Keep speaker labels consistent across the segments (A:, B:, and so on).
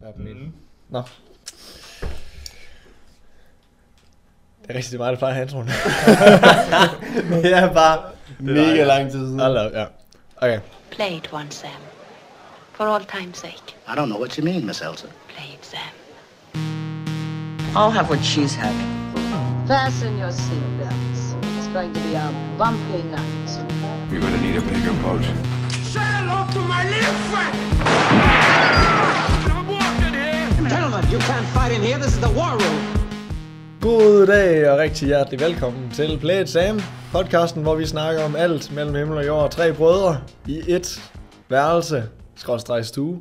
A: Der er på
B: Mhm.
A: midten.
B: Nå. Det er rigtigt, det var det plejer hans runde. det er bare mega lang tid siden. Hold da op, ja. Okay.
C: Play it once, Sam. For all time's sake,
D: I don't know what you mean, Miss Elsa.
C: play it, Sam.
E: I'll have what she's having.
F: Fasten your seatbelts. It's going to be a bumpy night.
G: You're gonna need a bigger boat.
B: God dag og rigtig hjertelig velkommen til Play It Sam, podcasten, hvor vi snakker om alt mellem himmel og jord. Tre brødre i et værelse, skrådstræk stue.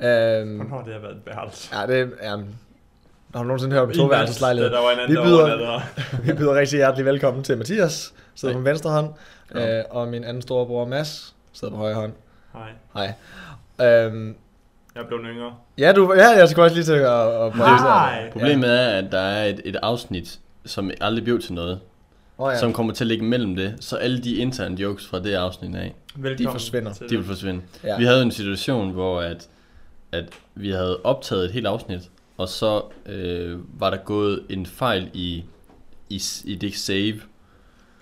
B: Øhm,
A: Hvornår det har været et værelse?
B: ja, det er... Um, har du nogensinde hørt om
A: I
B: toværelseslejlighed?
A: værelse, da Der var en anden,
B: Vi byder-
A: der overnattede.
B: Vi byder rigtig hjertelig velkommen til Mathias, sidder
A: Hej.
B: på venstre hånd, øh, og min anden store bror Mads, sidder på højre hånd.
A: Hej.
B: Hej. Øhm,
A: Jeg er blevet yngre.
B: ja, du, ja, jeg skulle også lige til at, at
A: Nej.
H: Problemet er, at der er et, et afsnit, som aldrig blev til noget,
B: Oh, ja.
H: som kommer til at ligge mellem det, så alle de interne jokes fra det afsnit af,
A: Velkommen
B: forsvinder.
A: til
H: de vil forsvinde.
B: Ja.
H: Ja. Vi havde en situation, hvor at, at vi havde optaget et helt afsnit, og så øh, var der gået en fejl i, i, i det save.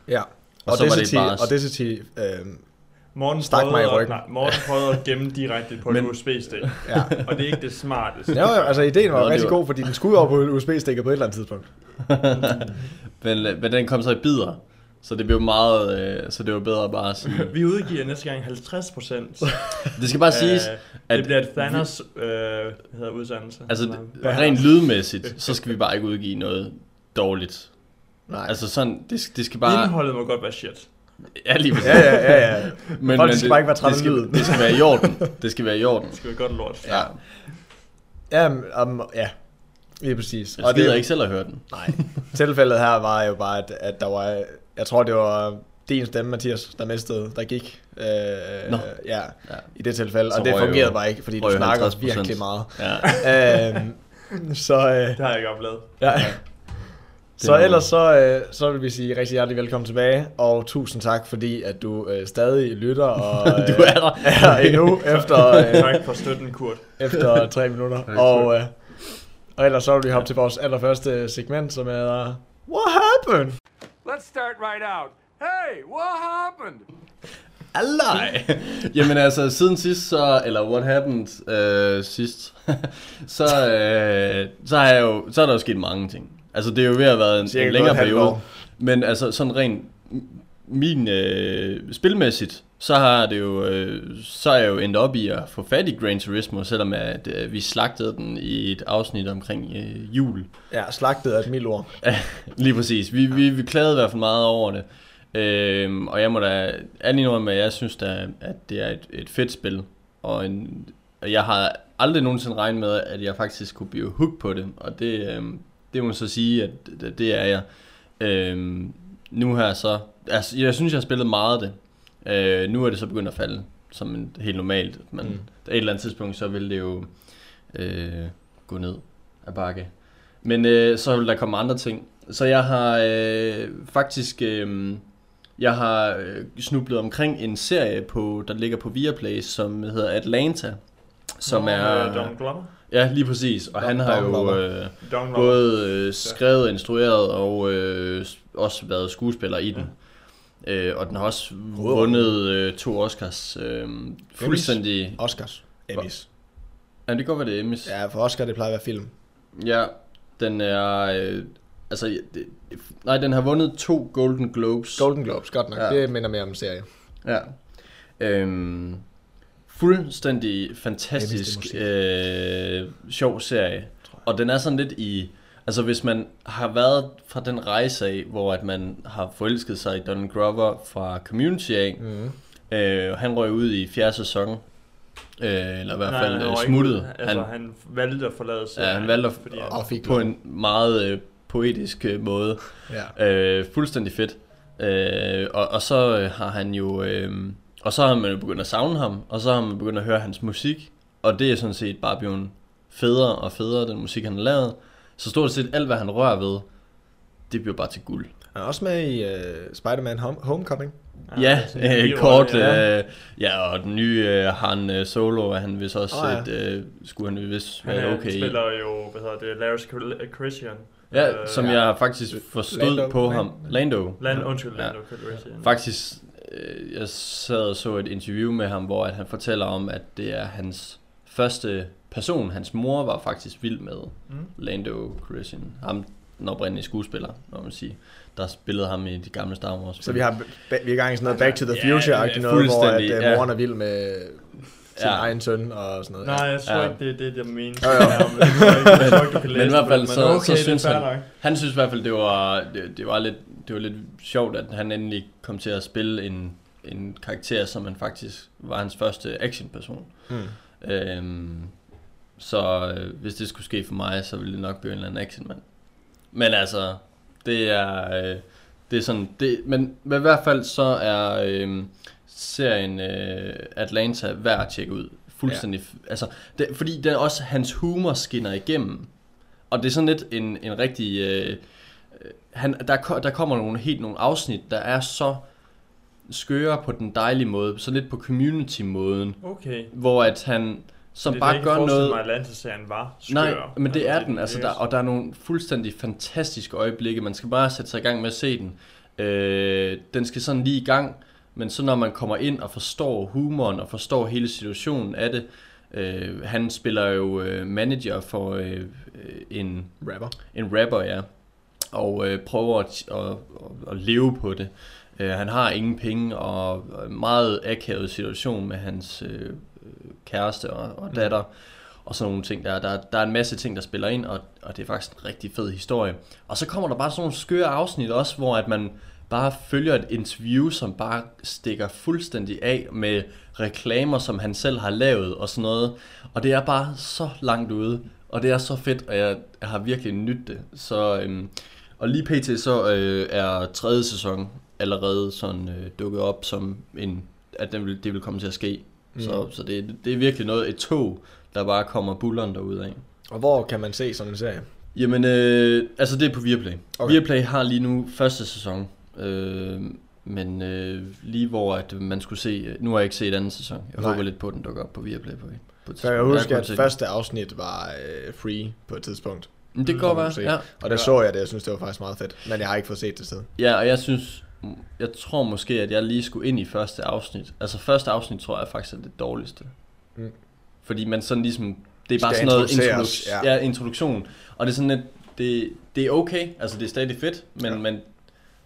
B: ja. Og,
H: Og så var det
B: Density-
H: bare-
B: og Density, øh,
A: Morten
B: Stak mig i
A: prøvede at-
B: ryggen.
A: nej, Morten prøvede at gemme direkte på en
H: Men-
A: USB-stik.
B: ja.
A: Og det er ikke det smarteste.
B: Ja, jo, altså ideen var
H: Nå,
B: jo
H: det
B: rigtig
H: var-
B: god, fordi den skulle over på USB-stikker på et eller andet tidspunkt.
H: Men, øh, men den kom så i bidder, så det blev meget, øh, så det var bedre bare at sige.
A: Vi udgiver næste gang 50 procent.
H: Det skal bare siges,
A: at
H: at
A: det bliver et Thanos øh, hvad hedder udsendelse.
H: altså
A: Eller-
H: det- rent lydmæssigt, så skal vi bare ikke udgive noget dårligt.
B: Nej.
H: Altså sådan, det, det skal bare...
A: Indholdet må godt være shit.
H: Ja, lige
B: Ja, ja, ja, ja.
H: Men,
B: Folk skal
H: det-
B: bare ikke være trætte
H: det
B: af
H: skal,
B: lyden.
H: det skal være i orden. Det skal være i orden.
A: Det skal være godt lort.
H: Ja.
B: Ja, um, ja. Lige præcis.
H: Jeg gider ikke selv at høre den.
B: Nej. Tilfældet her var jo bare, at, at der var... Jeg tror, det var din stemme, Mathias, der mistede, der gik. Øh,
H: Nå.
B: ja,
H: Ja.
B: i det tilfælde.
H: Så
B: og det
H: røg jo-
B: fungerede bare ikke, fordi du
H: røg
B: snakker
H: 50%.
B: virkelig meget.
H: Ja.
B: øh, så, øh,
A: Det har jeg ikke oplevet.
B: ja. Så
H: er noget.
B: ellers så, øh, så vil vi sige rigtig hjertelig velkommen tilbage, og tusind tak, fordi at du øh, stadig lytter og øh,
H: Du er der.
B: er endnu efter, øh,
A: Tak for støtten, Kurt.
B: efter tre minutter. Og, øh, og ellers så vil vi hoppe til vores allerførste segment, som er What happened?
I: Let's start right out. Hey, what happened?
H: Nej. Jamen altså, siden sidst så, eller what happened øh, sidst, så, øh, så, har jeg jo, så er der jo sket mange ting. Altså det er jo ved at være en,
B: Cirka
H: en længere
B: noget halvt
H: periode.
B: år.
H: Men altså sådan rent m- min øh, spilmæssigt, så har det jo, øh, så er jeg jo endt op i at få fat i Gran Turismo, selvom at, øh, vi slagtede den i et afsnit omkring øh, jul.
B: Ja, slagtet er et mildt ord.
H: Ja, Lige præcis. Vi, vi, vi klagede i hvert fald meget over det. Øhm, og jeg må da anindrømme, at jeg synes da, at det er et, et fedt spil. Og, en, og jeg har aldrig nogensinde regnet med, at jeg faktisk kunne blive hooked på det. Og det, øhm, det må man så sige, at det, det er jeg. Øhm, nu her så... Altså, jeg synes, jeg har spillet meget af det. Øh, nu er det så begyndt at falde, som en, helt normalt. Men mm. et eller andet tidspunkt, så vil det jo øh, gå ned af bakke. Men øh, så vil der komme andre ting. Så jeg har øh, faktisk øh, jeg har øh, snublet omkring en serie på der ligger på Viaplay, som hedder Atlanta, som er
A: Øh, Don Glover.
H: ja lige præcis. Og han har jo øh,
A: Don Glover.
H: både øh, skrevet, instrueret og øh, s- også været skuespiller i den. Øh, og den har også vundet øh, to Oscars øh, fuldstændig.
B: Oscars. Emmys.
H: Ja, det går hvad det er. Emmys.
B: Ja, for Oscar, det plejer at være film.
H: Ja, den er... Øh, altså, det, nej, den har vundet to Golden Globes.
B: Golden Globes, godt nok. Ja.
H: Ja.
B: Det minder mere om en serie.
H: Ja. Øhm, fuldstændig fantastisk
B: musik.
H: øh, sjov serie. Og den er sådan lidt i... Altså hvis man har været fra den rejse af, hvor at man har forelsket sig i Donald Glover fra Community af,
B: Mhm.
H: mm. øh, han røg ud i fjerde sæson, øh, eller i hvert
A: Nej,
H: fald
A: han
H: øh,
A: var ikke-
H: smuttet.
A: Altså, han, valgte at forlade sig.
H: Ja, han valgte at,
A: fordi,
B: Og fik
H: på en meget øh, poetisk øh, måde.
B: Ja.
H: Øh, fuldstændig fedt. Øh, og, og så øh, har han jo... Øh, og så har man jo begyndt at savne ham, og så har man begyndt at høre hans musik. Og det er sådan set bare blevet federe og federe, den musik han har lavet. Så stort set alt, hvad han rører ved, det bliver bare til guld.
B: Han er også med i uh, Spider-Man Home- Homecoming.
H: Ja,
A: sådan en
H: øh,
A: hero,
H: kort.
B: ja.
H: Øh, ja, og den nye øh, Han øh, Solo er han vist også
B: Åh, ja.
H: oh, ja. et, øh, skulle han vist
A: Han
H: være
A: øh,
H: okay i.
A: spiller jo, hvad hedder det, øh, Larry Sk- Christian.
H: Ja, som
A: ja.
H: jeg faktisk forstod
B: Lando,
H: på
B: ja.
H: ham. Lando.
A: Land, undskyld,
H: Ja.
A: Lando Calrissian.
H: Faktisk, øh, jeg sad og så et interview med ham, hvor at han fortæller om, at det er hans første person, hans mor var faktisk vild med.
A: Mm.
H: Lando Calrissian. Ham, den oprindelige skuespiller, må man sige. Der spillede ham i de gamle Star Wars.
B: Så vi har ba- vi er i gang i sådan noget Back to the
H: Ja,
B: Future-agtigt
H: ja,
B: noget, hvor at,
H: fuldstændig,
B: uh,
H: ja.
B: moren er vild med sin
H: Ja.
B: egen søn og sådan noget.
A: Nej, jeg tror
H: Ja.
A: ikke, det er det, jeg mener.
B: Jo, jo.
H: Men i hvert fald, så, okay, så synes han, han synes i hvert fald, det var, det, det, var lidt, det var lidt sjovt, at han endelig kom til at spille en, en karakter, som han faktisk var hans første actionperson.
B: Mm.
H: Øhm, så øh, hvis det skulle ske for mig, så ville det nok blive en eller anden actionmand. Men altså, det er, øh, det er sådan, det, men, men i hvert fald så er øh, serien øh, Atlanta værd at tjekke ud. Fuldstændig, ja. altså, det, fordi den også, hans humor skinner igennem. Og det er sådan lidt en, en rigtig, øh, øh, han, der, ko- der kommer nogle helt nogle afsnit, der er så skøre på den dejlige måde, så lidt på community-måden,
A: Okay.
H: hvor at han som
A: det,
H: bare gør noget...
A: Det er Atlanta-serien var skør.
H: Nej, men det er
A: det
H: den, altså der, og der er nogle fuldstændig fantastiske øjeblikke, man skal bare sætte sig i gang med at se den. Øh, den skal sådan lige i gang, men så når man kommer ind og forstår humoren og forstår hele situationen af det, øh, han spiller jo øh, manager for øh, øh, en
B: Rapper.
H: en rapper, ja. Og øh, prøver at, at, at, at leve på det. Øh, han har ingen penge, og og en meget akavet situation med hans øh, øh, kæreste og, og datter. Og sådan nogle ting der. der. Der er en masse ting, der spiller ind, og, og det er faktisk en rigtig fed historie. Og så kommer der bare sådan nogle skøre afsnit også, hvor at man bare følger et interview, som bare stikker fuldstændig af med reklamer, som han selv har lavet og sådan noget. Og det er bare så langt ude, og det er så fedt, og jeg, jeg har virkelig nydt det. Så, øhm, og lige pt. så øh, er tredje sæson allerede sådan øh, dukket op som en, at den vil, det vil komme til at ske. Mm. Så, så det, det er virkelig noget, et tog, der bare kommer bulleren derudad. af.
B: Og hvor kan man se sådan en serie?
H: Jamen, øh, altså det er på Viaplay.
B: Okay.
H: Okay. Viaplay har lige nu første sæson, øh, men øh, lige hvor at man skulle se, øh, nu har jeg ikke set anden sæson. Jeg
B: Nej.
H: Nej. håber lidt på, at den dukker op på Viaplay på, på et
B: Så jeg
H: tidspunkt.
B: husker,
H: kunne
B: at
H: se den.
B: første afsnit var øh, free på et tidspunkt.
H: Men det kan
B: må
H: godt
B: man
H: være,
B: se.
H: ja.
B: Og der så jeg det, jeg synes, det var faktisk meget fedt. Men jeg har ikke fået set det siden.
H: Ja, og jeg synes, jeg tror måske, at jeg lige skulle ind i første afsnit. Altså første afsnit tror jeg faktisk er det dårligste.
B: Mm.
H: Mm. Fordi man sådan ligesom, det er bare
B: Skal
H: sådan noget
B: introduceres,
H: introdu- ja. ja. introduktion. Og det er sådan lidt, det, det er okay, altså det er stadig fedt, men
B: Ja.
H: ja. man,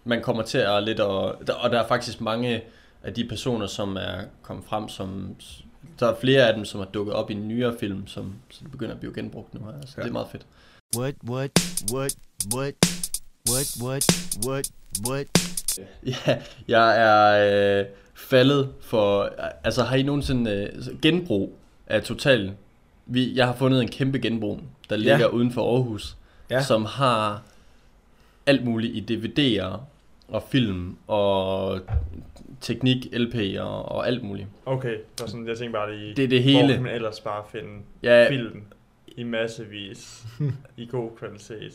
H: man kommer til at lidt og, der- og der er faktisk mange af de personer, som er kommet frem som, der er flere af dem, som er dukket op i nyere film, som, som begynder at blive genbrugt nu her. Altså,
B: Ja.
H: ja. det er meget fedt.
D: What, what, what, what, what, what, what, what?
H: Ja, jeg er øh, faldet for... Altså, har I nogensinde øh, genbrug af Total? Vi, jeg har fundet en kæmpe genbrug, der
B: Ja.
H: ligger uden for Aarhus,
B: Ja.
H: ja. som har alt muligt i DVD'er og film og teknik, LP'er og alt muligt.
A: Okay, det var sådan, jeg tænkte bare lige...
H: Det er det
A: Hvor
H: hele.
A: kan man ellers bare finde
H: Ja.
A: film i massevis, i god kvalitet.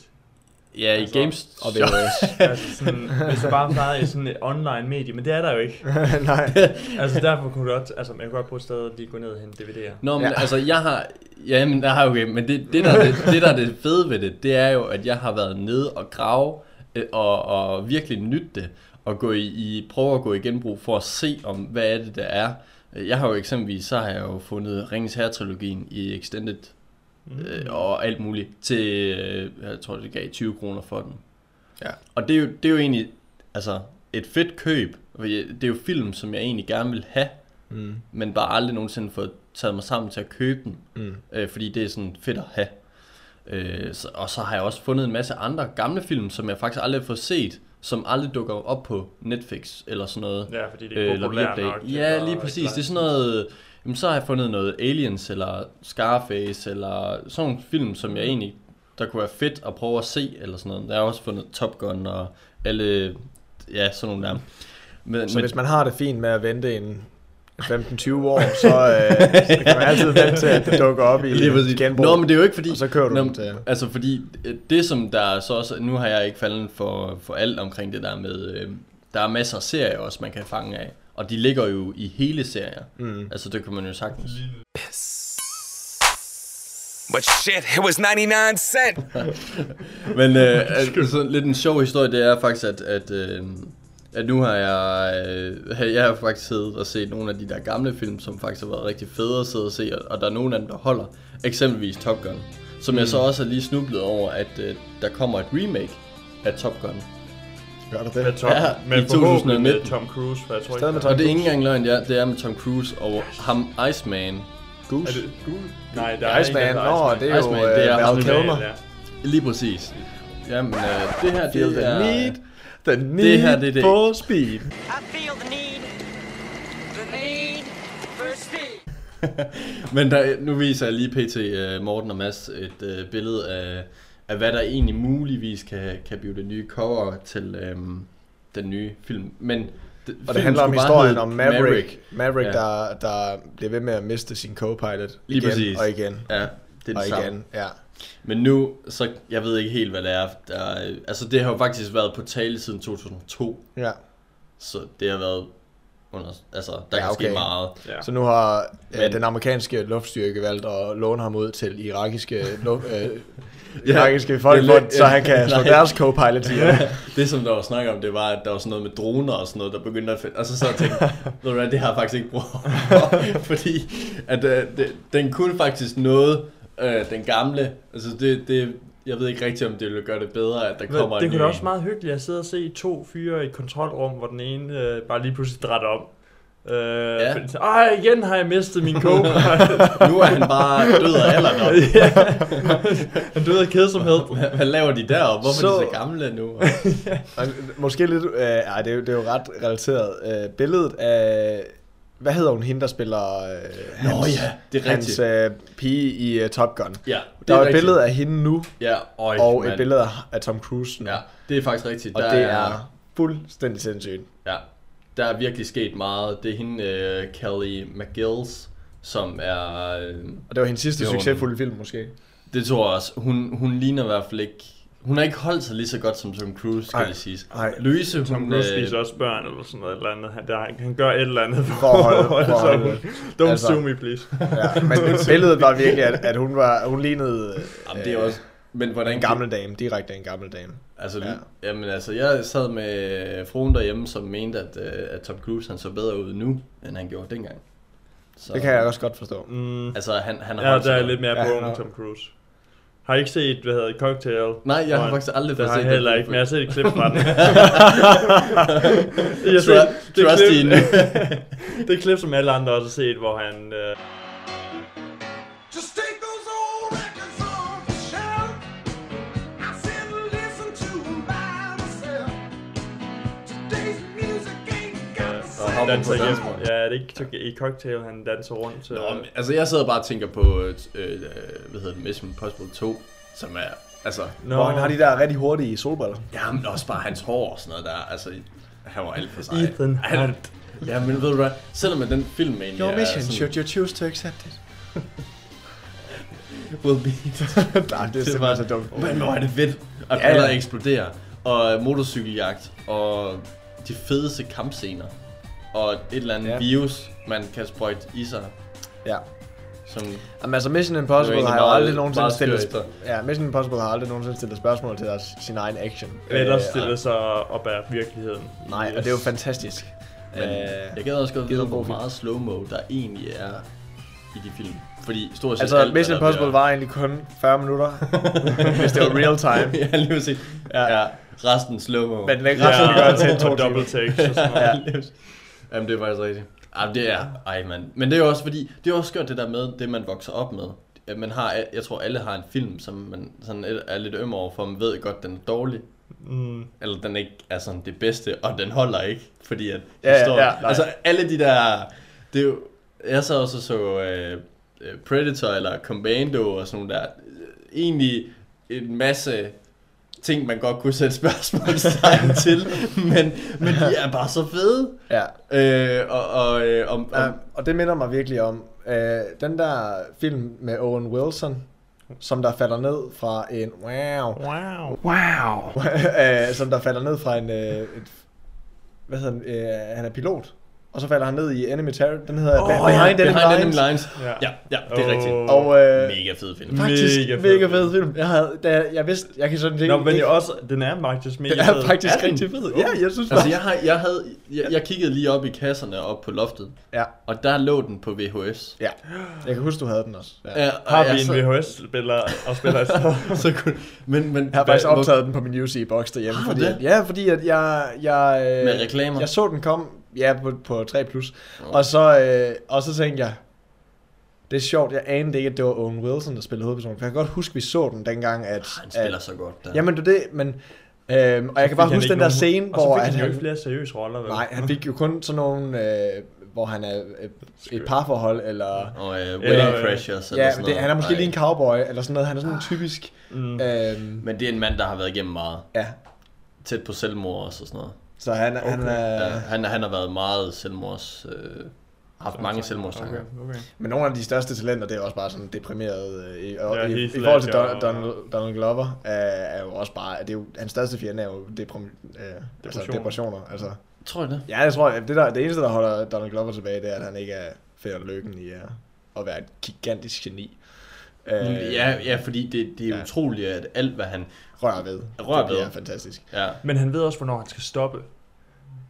H: Ja, i
A: Altså,
H: games...
B: Og det var
A: Altså sådan, hvis du bare plejede i sådan et online medie, men det er der jo ikke.
B: Nej.
A: Altså derfor kunne du godt, altså man kunne godt prøve et sted at lige gå ned og hente DVD'er.
H: Nå, men
B: Ja.
H: ja. altså, jeg har... Ja, men der har okay, men det, det, der, er det, det, der er det fede ved det, det er jo, at jeg har været nede og grave øh, og, og virkelig nytte det, og gå i, i, prøve at gå i genbrug for at se, om hvad er det, der er. Jeg har jo eksempelvis, så har jeg jo fundet Ringens Herre-trilogien i Extended øh, og alt muligt til, øh, jeg tror, det gav 20 kroner for den.
B: Ja.
H: Og det er jo, det er jo egentlig, altså, et fedt køb, for jeg- det er jo film, som jeg egentlig gerne vil have,
B: Mm.
H: men bare aldrig nogensinde fået taget mig sammen til at købe den,
B: Mm.
H: øh, fordi det er sådan fedt at have. Øh, så, og så har jeg også fundet en masse andre gamle film, som jeg faktisk aldrig har fået set, som aldrig dukker op på Netflix eller sådan noget.
A: Ja, fordi det er
H: eller
A: populært
H: Viaplay.
A: nok. det er
H: Ja,
A: bare
H: lige
A: ikke
H: præcis. Det er
A: langt.
H: sådan noget... Jamen, så har jeg fundet noget Aliens eller Scarface eller sådan nogle film, som
A: Mm.
H: jeg egentlig... Der kunne være fedt at prøve at se eller sådan noget. Der har jeg også fundet Top Gun og alle... Ja, sådan nogle der. Men,
B: Så hvis man har det fint med at vente en 15-20 år, så, øh, så kan man altid vente til at det dukker op i
H: Lige præcis.
B: et genbrug.
H: Nå, men det er jo ikke fordi...
B: Og så kører du
H: Nå,
B: den til-
H: Altså, fordi øh, det som der så også... Nu har jeg ikke faldet for, for alt omkring det der med... Øh, der er masser af serier også, man kan fange af. Og de ligger jo i hele serier. Mm. Altså, det kan man jo sagtens.
J: But shit, it was 99 cent.
H: Men øh, at- sådan lidt en sjov historie, det er faktisk, at, at, øh, at nu har jeg, øh, jeg har faktisk siddet og set nogle af de der gamle film, som faktisk har været rigtig fede at sidde og se, og, og der er nogle af dem, der holder. Eksempelvis Top Gun, som mm. jeg så også har lige snublet over, at øh, der kommer et remake af Top Gun.
B: Gør du
A: Med
B: det?
A: Tom,
H: Ja,
A: med
H: i
A: forhåbentlig med
H: 2019.
A: Tom Cruise, for jeg tror ikke,
B: Stadig med
A: der-
H: Og det er ikke engang løgn, det er, det er med Tom Cruise og ham Iceman.
A: Er
B: Goose.
A: det gul? Nej, der er en, der
B: Iceman,
A: hedder
B: nå,
A: Iceman.
B: det er jo
H: Iceman, det er
B: øh,
H: ham,
B: Val
H: der-
B: Kilmer.
A: Ja, ja.
H: Lige præcis. Jamen, øh, det her,
B: Feel
H: det
B: the
H: er...
B: need, the need
H: Det her, det er det.
B: for speed.
H: Men der, nu viser jeg lige pt. øh, Morten og Mads et øh, billede af, af, hvad der egentlig muligvis kan, kan blive det nye cover til øhm, den nye film. Men det,
B: Og det handler om historien om Maverick, Maverick,
H: Ja.
B: der, der bliver ved med at miste sin co-pilot
H: Lige
B: igen
H: præcis.
B: og igen
H: Ja, det er
B: og
H: det samme.
B: igen. Ja.
H: Men nu, så jeg ved ikke helt, hvad det er. Der, øh, altså, det har jo faktisk været på tale siden 2002,
B: Ja.
H: så det har været under, altså, der
B: Ja,
H: ja, kan okay.
B: okay.
H: ske meget.
A: Ja.
B: Så nu har
H: Men-
B: øh, den amerikanske luftstyrke valgt at låne ham ud til irakiske, lu- øh, irakiske folk,
H: det er lidt-
B: hvor- så han
H: ja,
B: kan slå
H: nej.
B: deres co-pilot ihjel.
H: Det som der var snak om, det var, at der var sådan noget med droner og sådan noget, der begyndte at finde... Og så sad jeg og tænkte, ved du hvad, det har jeg faktisk ikke brug for, fordi at, øh, det, den kunne faktisk noget, øh, den gamle. Altså det, det, jeg ved ikke rigtigt, om det ville gøre det bedre, at der
A: Men
H: kommer
A: det
H: en øh,
A: kunne da
H: ny
A: også meget hyggeligt at sidde og se to fyre i et kontrolrum, hvor den ene øh, bare lige pludselig drætter om. Øh,
H: Ja.
A: ja. Ej, igen har jeg mistet min kog.
H: Nu er han bare død af alderdom.
A: ja. Han døde af kedsomhed.
H: Hvad, hvad laver de deroppe? Hvorfor så... er de
B: Så-
H: så gamle nu?
B: Og Måske lidt, øh, ej, det, er jo, det er jo ret relateret. Øh, billedet af, hvad hedder hun, hende der spiller øh, hans,
H: ja, det er
B: hans
H: rigtigt.
B: øh, pige i øh, Top Gun?
H: Ja,
B: Der er, et
H: rigtigt.
B: billede af hende nu,
H: ja, øj,
B: og et
H: mand.
B: billede af, af Tom Cruise nu.
H: Ja, det er faktisk rigtigt.
B: Og det er fuldstændig sindssygt.
H: Ja, der er virkelig sket meget. Det er hende, øh, Kelly McGills, som er... Øh,
B: Og det var hendes sidste
H: Jo.
B: succesfulde film måske.
H: det tror jeg også. Hun, hun ligner i hvert fald ikke... Hun har ikke holdt sig lige så godt som Tom Cruise, skal
B: Ej,
H: det siges.
B: ej.
H: Louise,
A: Tom
H: hun... øh,
A: Cruise spiser også børn eller sådan noget. Eller andet. Han, der, han gør et eller andet for,
B: For at holde-
A: at holde
B: for at
A: sig
B: holde-
A: ude. Don't
B: altså-
A: altså. sue me, please.
B: Ja, men billedet var virkelig, at, at hun, var, hun lignede øh,
H: jamen, det er også... Men hvordan...
B: en gammel dame, direkte en gammel dame.
H: Altså,
B: Ja.
H: ja. jamen, altså, jeg sad med øh, fruen derhjemme, som mente, at, øh, at Tom Cruise han så bedre ud nu, end han gjorde dengang. Så,
B: Det kan jeg også godt forstå.
A: Mm.
H: Altså, han, han har
A: Ja,
H: holdt
A: der
H: sig
A: er
H: godt.
A: lidt mere
B: Ja,
A: på
B: han har-
A: ja, Tom Cruise. Har I ikke set, hvad hedder det, Cocktail?
H: Nej, jeg har
A: Hvor-
H: faktisk aldrig
A: Det
H: fået
A: har
H: set
A: jeg heller
H: den.
A: ikke, men jeg har set et klip fra den. jeg har
H: Trust-
A: det,
H: trust in.
A: klip, det klip, som alle andre også har set, hvor han... Øh,
I: Just take those old records off the shelf. I sit and listen to 'em by myself. Today's music ain't got the
H: og
I: same
H: hopper på
A: danser hjem.
H: dansegulvet.
A: Ja, det er ikke så- i Cocktail, han danser rundt. Øh,
H: Nå, men, altså jeg sidder bare og tænker på, øh, øh, hvad hedder det, Mission Impossible 2, som er, altså,
A: Nå,
B: Hvor han har de der rigtig hurtige solbriller.
H: jamen også bare hans hår og sådan noget der, altså, han var alt for sej.
A: Ethan
H: han,
A: Hunt.
H: Ja, men ved du hvad, selvom at den film egentlig
B: Your
H: er
B: mission,
H: sådan,
B: should you choose to accept it?
H: will be,
B: Nej, det er simpelthen så dumt.
H: men hvor er det fedt, at
B: Ja, ja.
H: ja, ja. eksploderer, og motorcykeljagt, og de fedeste kampscener, og et eller andet
B: Ja.
H: ja. virus, man kan sprøjte i sig,
B: Ja.
H: som
B: Jamen, altså Mission
H: Det er
B: Impossible
H: jo
B: har
H: egentlig
B: jo aldrig
H: meget-
B: nogensinde
H: meget
B: stillet...
H: skørt.
B: sp- Ja, Mission Impossible har aldrig nogensinde stillet spørgsmål til deres, sin egen action.
A: Eller
B: Øh,
A: stiller sig op af virkeligheden.
B: og- Nej, og det er jo fantastisk.
H: Men
B: Øh,
H: jeg gad også
B: gider
H: godt vide,
B: en
H: hvor
B: god film.
H: meget slow-mo der egentlig er i de film. Fordi stort set
B: Altså,
H: alt,
B: Mission
H: hvad der
B: Impossible var egentlig kun 40 minutter, hvis det var real time.
H: bliver- ja, lige præcis. Ja. ja. Resten slow-mo.
B: Men den resten ja. gør det til en to
A: og double
B: timer.
A: takes og sådan noget.
H: Ja. lige præcis. Jamen, det er faktisk rigtigt. Jamen, det er... Ej, mand. Men det er jo også fordi... Det er jo også skørt, det der med, det man vokser op med. At Man har, jeg tror, alle har en film, som man sådan er- er lidt øm over, for man ved godt, den er dårlig.
A: Mm.
H: Eller den ikke er sådan det bedste, og den holder ikke, fordi at
B: Ja, ja,
H: historien...
B: ja, nej.
H: altså alle de der... Det er jo, jeg sad også og så øh, øh, Predator eller Commando og sådan nogle der. Øh, Egentlig en masse ting, man godt kunne sætte spørgsmålstegn til, men, men de er bare så fede.
B: Ja.
H: Øh, og, og, øh, om, om,
B: Ja, Øhm, og det minder mig virkelig om øh, den der film med Owen Wilson, som der falder ned fra en wow,
A: Wow.
B: øh, som der falder ned fra en, øh, et, hvad hedder han, øh, han er pilot, og så falder han ned i Enemy Terror, den hedder oh, Behind,
H: ja,
B: Enemy
H: Behind Enemy
B: Lines.
H: Lines.
A: Ja.
H: Ja, ja, det er
A: Åh.
H: rigtigt.
B: Og øh,
H: Mega fed film.
B: faktisk mega
A: Mega fed
B: fed, mega fed film. Jeg, havde, da, jeg, jeg vidste, jeg kan sådan ikke...
A: Nå, men
B: ikke-
A: jeg også, den er faktisk mega
B: den er
A: fed.
B: faktisk
H: Er den?
B: rigtig fed. Ja, jeg synes
H: Altså,
B: faktisk.
H: jeg, har, jeg, havde, jeg, jeg kiggede lige op i kasserne op på loftet,
B: Ja,
H: og der lå den på VHS.
B: ja. Jeg kan huske, du havde den også. Ja.
H: Ja, og
A: Har
H: jeg
A: vi en
H: så-
A: VHS-spiller og spiller i stedet?
H: Så kunne, men, men,
B: Jeg har faktisk
H: hvor-
B: optaget den på min UC-boks derhjemme.
H: Har du
B: fordi,
H: det?
B: at- Ja, fordi at jeg... jeg øh,
H: Med reklamer?
B: Jeg så den komme ja, på, på 3+, plus, og, så, øh, og så tænkte jeg, det er sjovt, jeg anede ikke, at det var Owen Wilson, der spillede hovedpersonen. For jeg kan godt huske, vi så den dengang, at...
H: Ah, Han spiller
B: at,
H: så godt. Der.
B: Jamen, det er det, men... Øhm, og jeg kan bare
A: Fik han
B: huske
A: ikke
B: den der
A: nogen-
B: scene, hvor...
A: Og så fik
B: at
A: han jo
B: han,
A: ikke flere seriøse roller, vel?
B: nej, han fik jo kun sådan nogle, øh, hvor han er øh, et parforhold, eller...
H: og uh, Wedding
A: Eller, øh,
H: Crashers eller
B: Ja,
H: sådan
B: det,
H: noget.
B: han er måske
H: Nej.
B: lige en cowboy, eller sådan noget. Han er sådan en typisk... Mm. Øhm,
H: Men det er en mand, der har været igennem meget.
B: ja,
H: Tæt på selvmord også og sådan noget.
B: så han, okay. han er...
H: Ja, han, han har været meget selvmords... Øh, haft mange selvmordstanker.
A: Okay,
H: Okay.
A: okay.
B: Men nogle af de største talenter, det er også bare sådan deprimeret. Øh, i, og,
A: Ja,
B: i, i
A: Heath
B: forhold til
A: Ledger
B: Don,
A: og-
B: Don, Donald Glover, øh, er jo også bare, det er jo, hans største fjende er jo deprim, øh, altså
A: Depressioner.
B: depressioner. Altså,
H: Tror jeg det?
B: ja, jeg tror, at det, der, det eneste, der holder Donald Glover tilbage, det er, at han ikke er fed og lykken i at, at være et gigantisk geni. Øh,
H: Mm, Ja, ja fordi det, det er
B: Ja.
H: ja. utroligt, at alt hvad han
B: Rør ved.
H: Rør
B: det bliver
H: ved.
B: fantastisk.
H: Ja.
A: Men han ved også, hvornår han skal stoppe.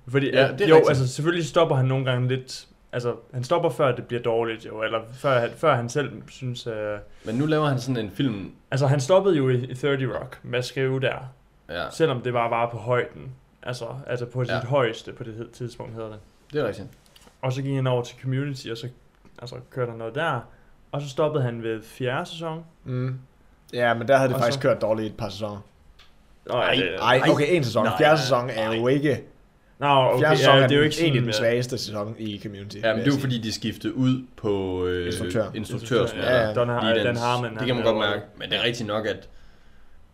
A: Fordi,
H: Ja,
A: ja,
H: det er
A: jo,
H: rigtigt.
A: altså selvfølgelig stopper han nogle gange lidt... Altså, han stopper før det bliver dårligt, jo, eller før, han- før han selv synes... Øh,
H: Men nu laver han sådan en film...
A: altså, han stoppede jo i, i 30 Rock med at skrive der,
H: Ja,
A: selvom det bare var på højden. Altså, altså på sit
H: Ja.
A: højeste på det hed- tidspunkt, hedder det.
H: det er rigtigt.
A: Og så gik han over til Community, og så altså, kørte han noget der. Og så stoppede han ved fjerde sæson.
B: Mm. Ja, men der havde det
A: Og
B: faktisk
A: så-
B: kørt dårligt i et par sæsoner.
A: Nej,
B: Nej, okay, en sæson.
H: Nej,
B: Fjerde
H: nej,
B: sæson er jo ikke...
A: Nå, okay,
B: Fjerde sæson
A: ja,
B: er
A: det er jo ikke
B: egentlig
A: sådan,
B: den
A: øh,
B: svageste sæson i Community.
H: Ja,
B: vil
H: men
B: jeg
H: det er jo
B: sige.
H: fordi, de skiftede ud på øh,
B: Instruktør.
H: instruktør sådan
B: Ja,
H: noget.
B: ja.
A: Don, har,
H: Lige
A: Dan
H: dens-
A: Harmon.
H: Det kan man
A: han
H: godt
A: er jo-
H: mærke. Men det er rigtigt nok, at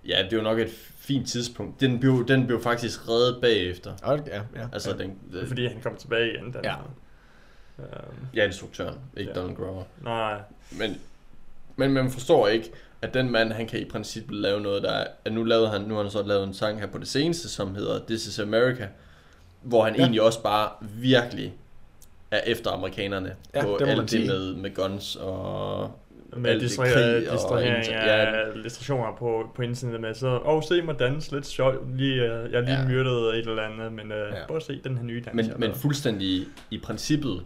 H: ja, det er jo nok et fint tidspunkt. Den blev, den blev faktisk reddet bagefter.
B: Okay, ja, ja.
H: Altså, den, øh,
A: Fordi han kom tilbage igen. Den,
B: Ja.
H: ja, instruktøren, ikke
A: Ja.
H: Donald Grover.
A: Nej,
H: Men, men man forstår ikke, at den mand, han kan i princippet lave noget, der er, at nu, lavede han, nu har han så lavet en sang her på det seneste, som hedder This is America, hvor han ja. egentlig også bare virkelig er efter amerikanerne
B: Ja,
H: på
B: det må man
H: alt det
B: sige.
H: med, med guns og
A: med
H: alt det
A: distra-
H: intet-
A: distrahering
H: ja,
A: af illustrationer på, på internettet med, så, åh, se mig danse lidt sjovt, lige, øh, jeg er lige
H: Ja.
A: ja. myrdet et eller andet, men øh,
B: Ja.
A: prøv at se den her nye dans.
H: men,
A: jeg har
H: men
A: lavet."
H: fuldstændig i princippet,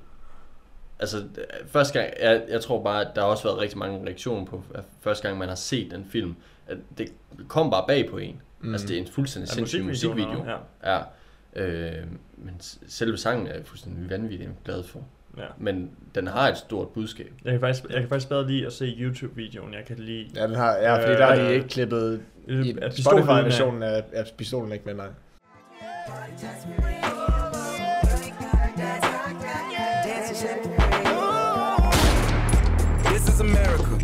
H: altså første gang, jeg, jeg tror bare, at der har også været rigtig mange reaktioner på, at første gang man har set den film, at det kom bare bag på en. Mm. Altså det er en fuldstændig
A: Ja,
H: sindssyg
A: musikvideoen
H: musikvideo.
A: og-
H: Ja. Øh, men s- selve sangen er jeg fuldstændig vanvittig glad for.
A: Ja.
H: Men den har et stort budskab.
A: Jeg kan, faktisk, jeg kan faktisk bedre lide at se YouTube-videoen, jeg kan lide.
B: Ja, den har, ja, fordi der har de
A: Øh,
B: ikke klippet
A: øh,
B: i
A: at pistolen er-
B: Spotify-versionen af, af pistolen ikke med, nej.
I: This is America.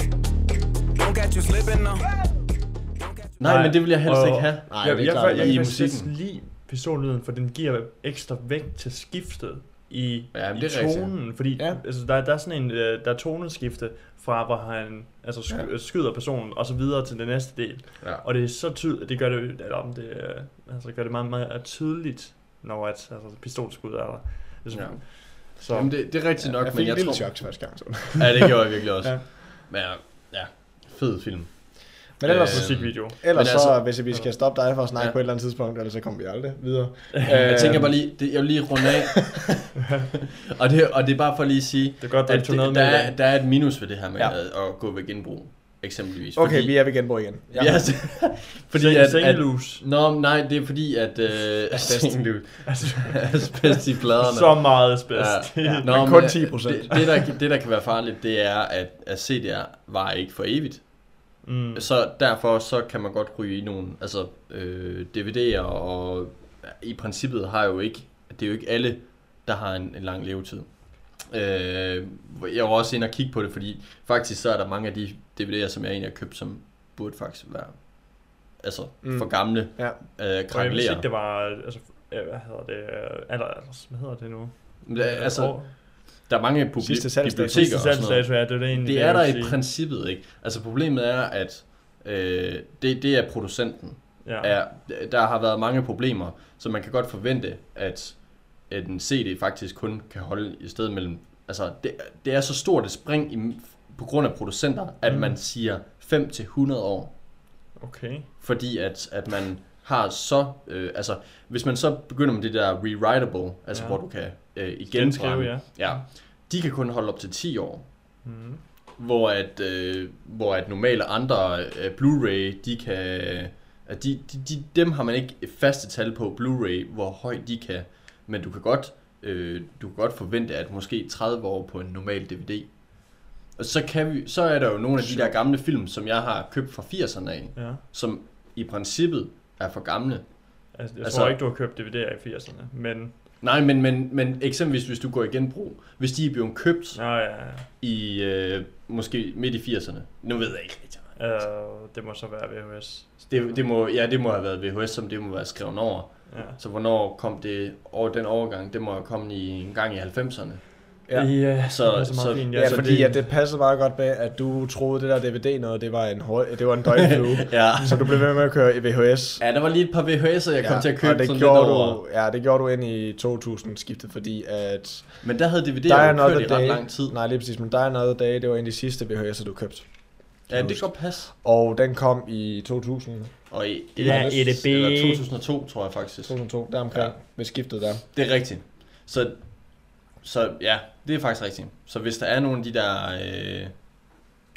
I: Don't get you slipping now.
H: Nej, Nej men det vil jeg helst
A: og-
H: ikke have.
B: Nej,
A: jeg,
B: det er
A: jeg,
B: klart,
A: jeg,
B: det er
A: jeg,
H: i
A: kan faktisk
H: musikken.
A: bedst lide pistollyden, for den giver ekstra vægt til skiftet i,
H: Ja, men
A: i
H: det er rigtigt.
A: tonen, fordi
B: Ja.
A: ja. altså, der, der er sådan en øh, der er toneskifte fra hvor han altså sk- ja. skyder personen og så videre til den næste del.
H: Ja.
A: Og det er så tydeligt, det gør det jo- eller om det øh, altså gør det meget meget tydeligt når at altså pistolskud er der. Altså,
H: Ja.
A: ja. Så
H: Jamen, det, det er rigtigt nok,
B: jeg fik
H: men
B: en
H: jeg
B: lille
H: tror...
B: chok til første gang. Så.
H: Ja, det gjorde jeg virkelig også.
B: Ja.
H: ja. Men ja, ja, fed film.
B: Men ellers,
H: Øh,
B: øh,
A: musikvideo.
B: ellers
H: men
B: så,
H: altså-
B: altså, hvis vi skal stoppe dig for at snakke
H: Ja.
B: ja. på et eller andet tidspunkt, ellers så kommer vi aldrig videre. Øh,
H: Jeg tænker bare lige, det, jeg vil lige runde af. og, det, og det er bare for lige at sige,
A: Det er godt, du
H: at
A: ikke tog noget
H: der,
A: med i
H: er, der er et minus ved det her med
B: Ja.
H: ja. at, at gå ved genbrug, eksempelvis.
B: Okay,
H: fordi,
B: vi er ved genbrug igen. Ja.
H: Ja, altså, fordi at, at,
A: Sengelus.
H: Nå, men nej, det er fordi, at... Øh, Asbest. Asbest i pladerne.
A: Altså, så meget spæst.
H: Ja. Ja.
B: men kun 10%.
H: Det, det, der, det, der kan være farligt, det er, at, at CD'er var ikke for evigt. Mm. Så derfor så kan man godt ryge i nogle... Altså, øh, DVD'er og... I princippet har jo ikke... Det er jo ikke alle, der har en, en lang levetid. Øh, jeg var også inde og kigge på det, fordi faktisk så er der mange af de DVD'er, som jeg egentlig har købt, som burde faktisk være... altså mm. for gamle
B: Ja.
H: øh,
A: Og jeg vidste ikke,
H: krakelerer.
A: det var, altså, øh, hvad hedder det, øh, alder, altså, hvad hedder det nu?
H: Men, øh, Altså, der er mange publi-
B: Sidste salgsdato.
H: biblioteker
A: Sidste
H: og sådan noget.
A: salgsdato, ja, det er det egentlig.
H: Det
A: jeg
H: er der
A: vil
H: i
A: sige.
H: princippet, ikke? Altså problemet er, at øh, det, det er producenten.
A: Ja.
H: Er, der har været mange problemer, så man kan godt forvente, at at en CD faktisk kun kan holde i stedet mellem... Altså, det, det er så stort et spring i, på grund af producenter, at mm. man siger 5-100 år
A: Okay.
H: fordi at, at man har så, øh, altså hvis man så begynder med det der rewritable,
A: Ja.
H: altså ja. hvor du kan øh, igen
A: Genskrive, ja.
H: ja. De kan kun holde op til 10 år. Mm. Hvor at øh, hvor at normale andre øh, Blu-ray, de kan at de, de, de, dem har man ikke faste tal på Blu-ray, hvor højt de kan, men du kan godt øh, du kan godt forvente at måske 30 år på en normal DVD. Og så kan vi så er der jo nogle af de der gamle film som jeg har købt fra 80'erne af
A: Ja.
H: som i princippet er for gamle.
A: Altså, jeg altså,
H: Altså-
A: tror ikke, du har købt DVD'er i 80'erne, men...
H: Nej, men, men, men eksempelvis hvis du går i genbrug, hvis de er blevet købt
A: Nå ja,
H: i øh, måske midt i 80'erne. Nu ved jeg ikke rigtig.
A: øh, det må så være VHS.
H: Det, det må, ja, det må have været VHS, som det må være skrevet over.
A: Ja.
H: Så hvornår kom det over den overgang? Det må have kommet i, en gang i 90'erne.
B: Ja.
A: ja
H: Så-
A: det er meget
H: så-
A: fint,
B: Ja,
H: så
B: fordi det...
H: det-
B: At det passede meget godt med, at du troede, det der DVD noget, det var en, høj, det var en døgnflue.
H: Ja.
B: Så du blev ved med at køre i VHS.
H: Ja, der var lige et par VHS'er, jeg kom til at købe
B: og det
H: sådan lidt
B: gjorde
H: over.
B: du, Ja, det gjorde du ind i 2000-skiftet, fordi at...
H: Men der havde DVD'er
B: Der er
H: jo kørt
B: noget
H: i ret lang tid.
B: Nej, lige præcis, men der er noget dag, det var en af de sidste VHS'er, du købte.
H: Ja, det kan godt passe.
B: Og den kom i 2000,
H: Og
A: Ja,
H: i,
A: E
H: eller-
A: EDB.
H: Eller 2002, tror jeg faktisk.
B: 2002, der omkring, ja.
H: Ja.
B: ved skiftet der.
H: Det er rigtigt. Så, så ja, det er faktisk rigtigt. Så hvis der er nogle af de der... Øh,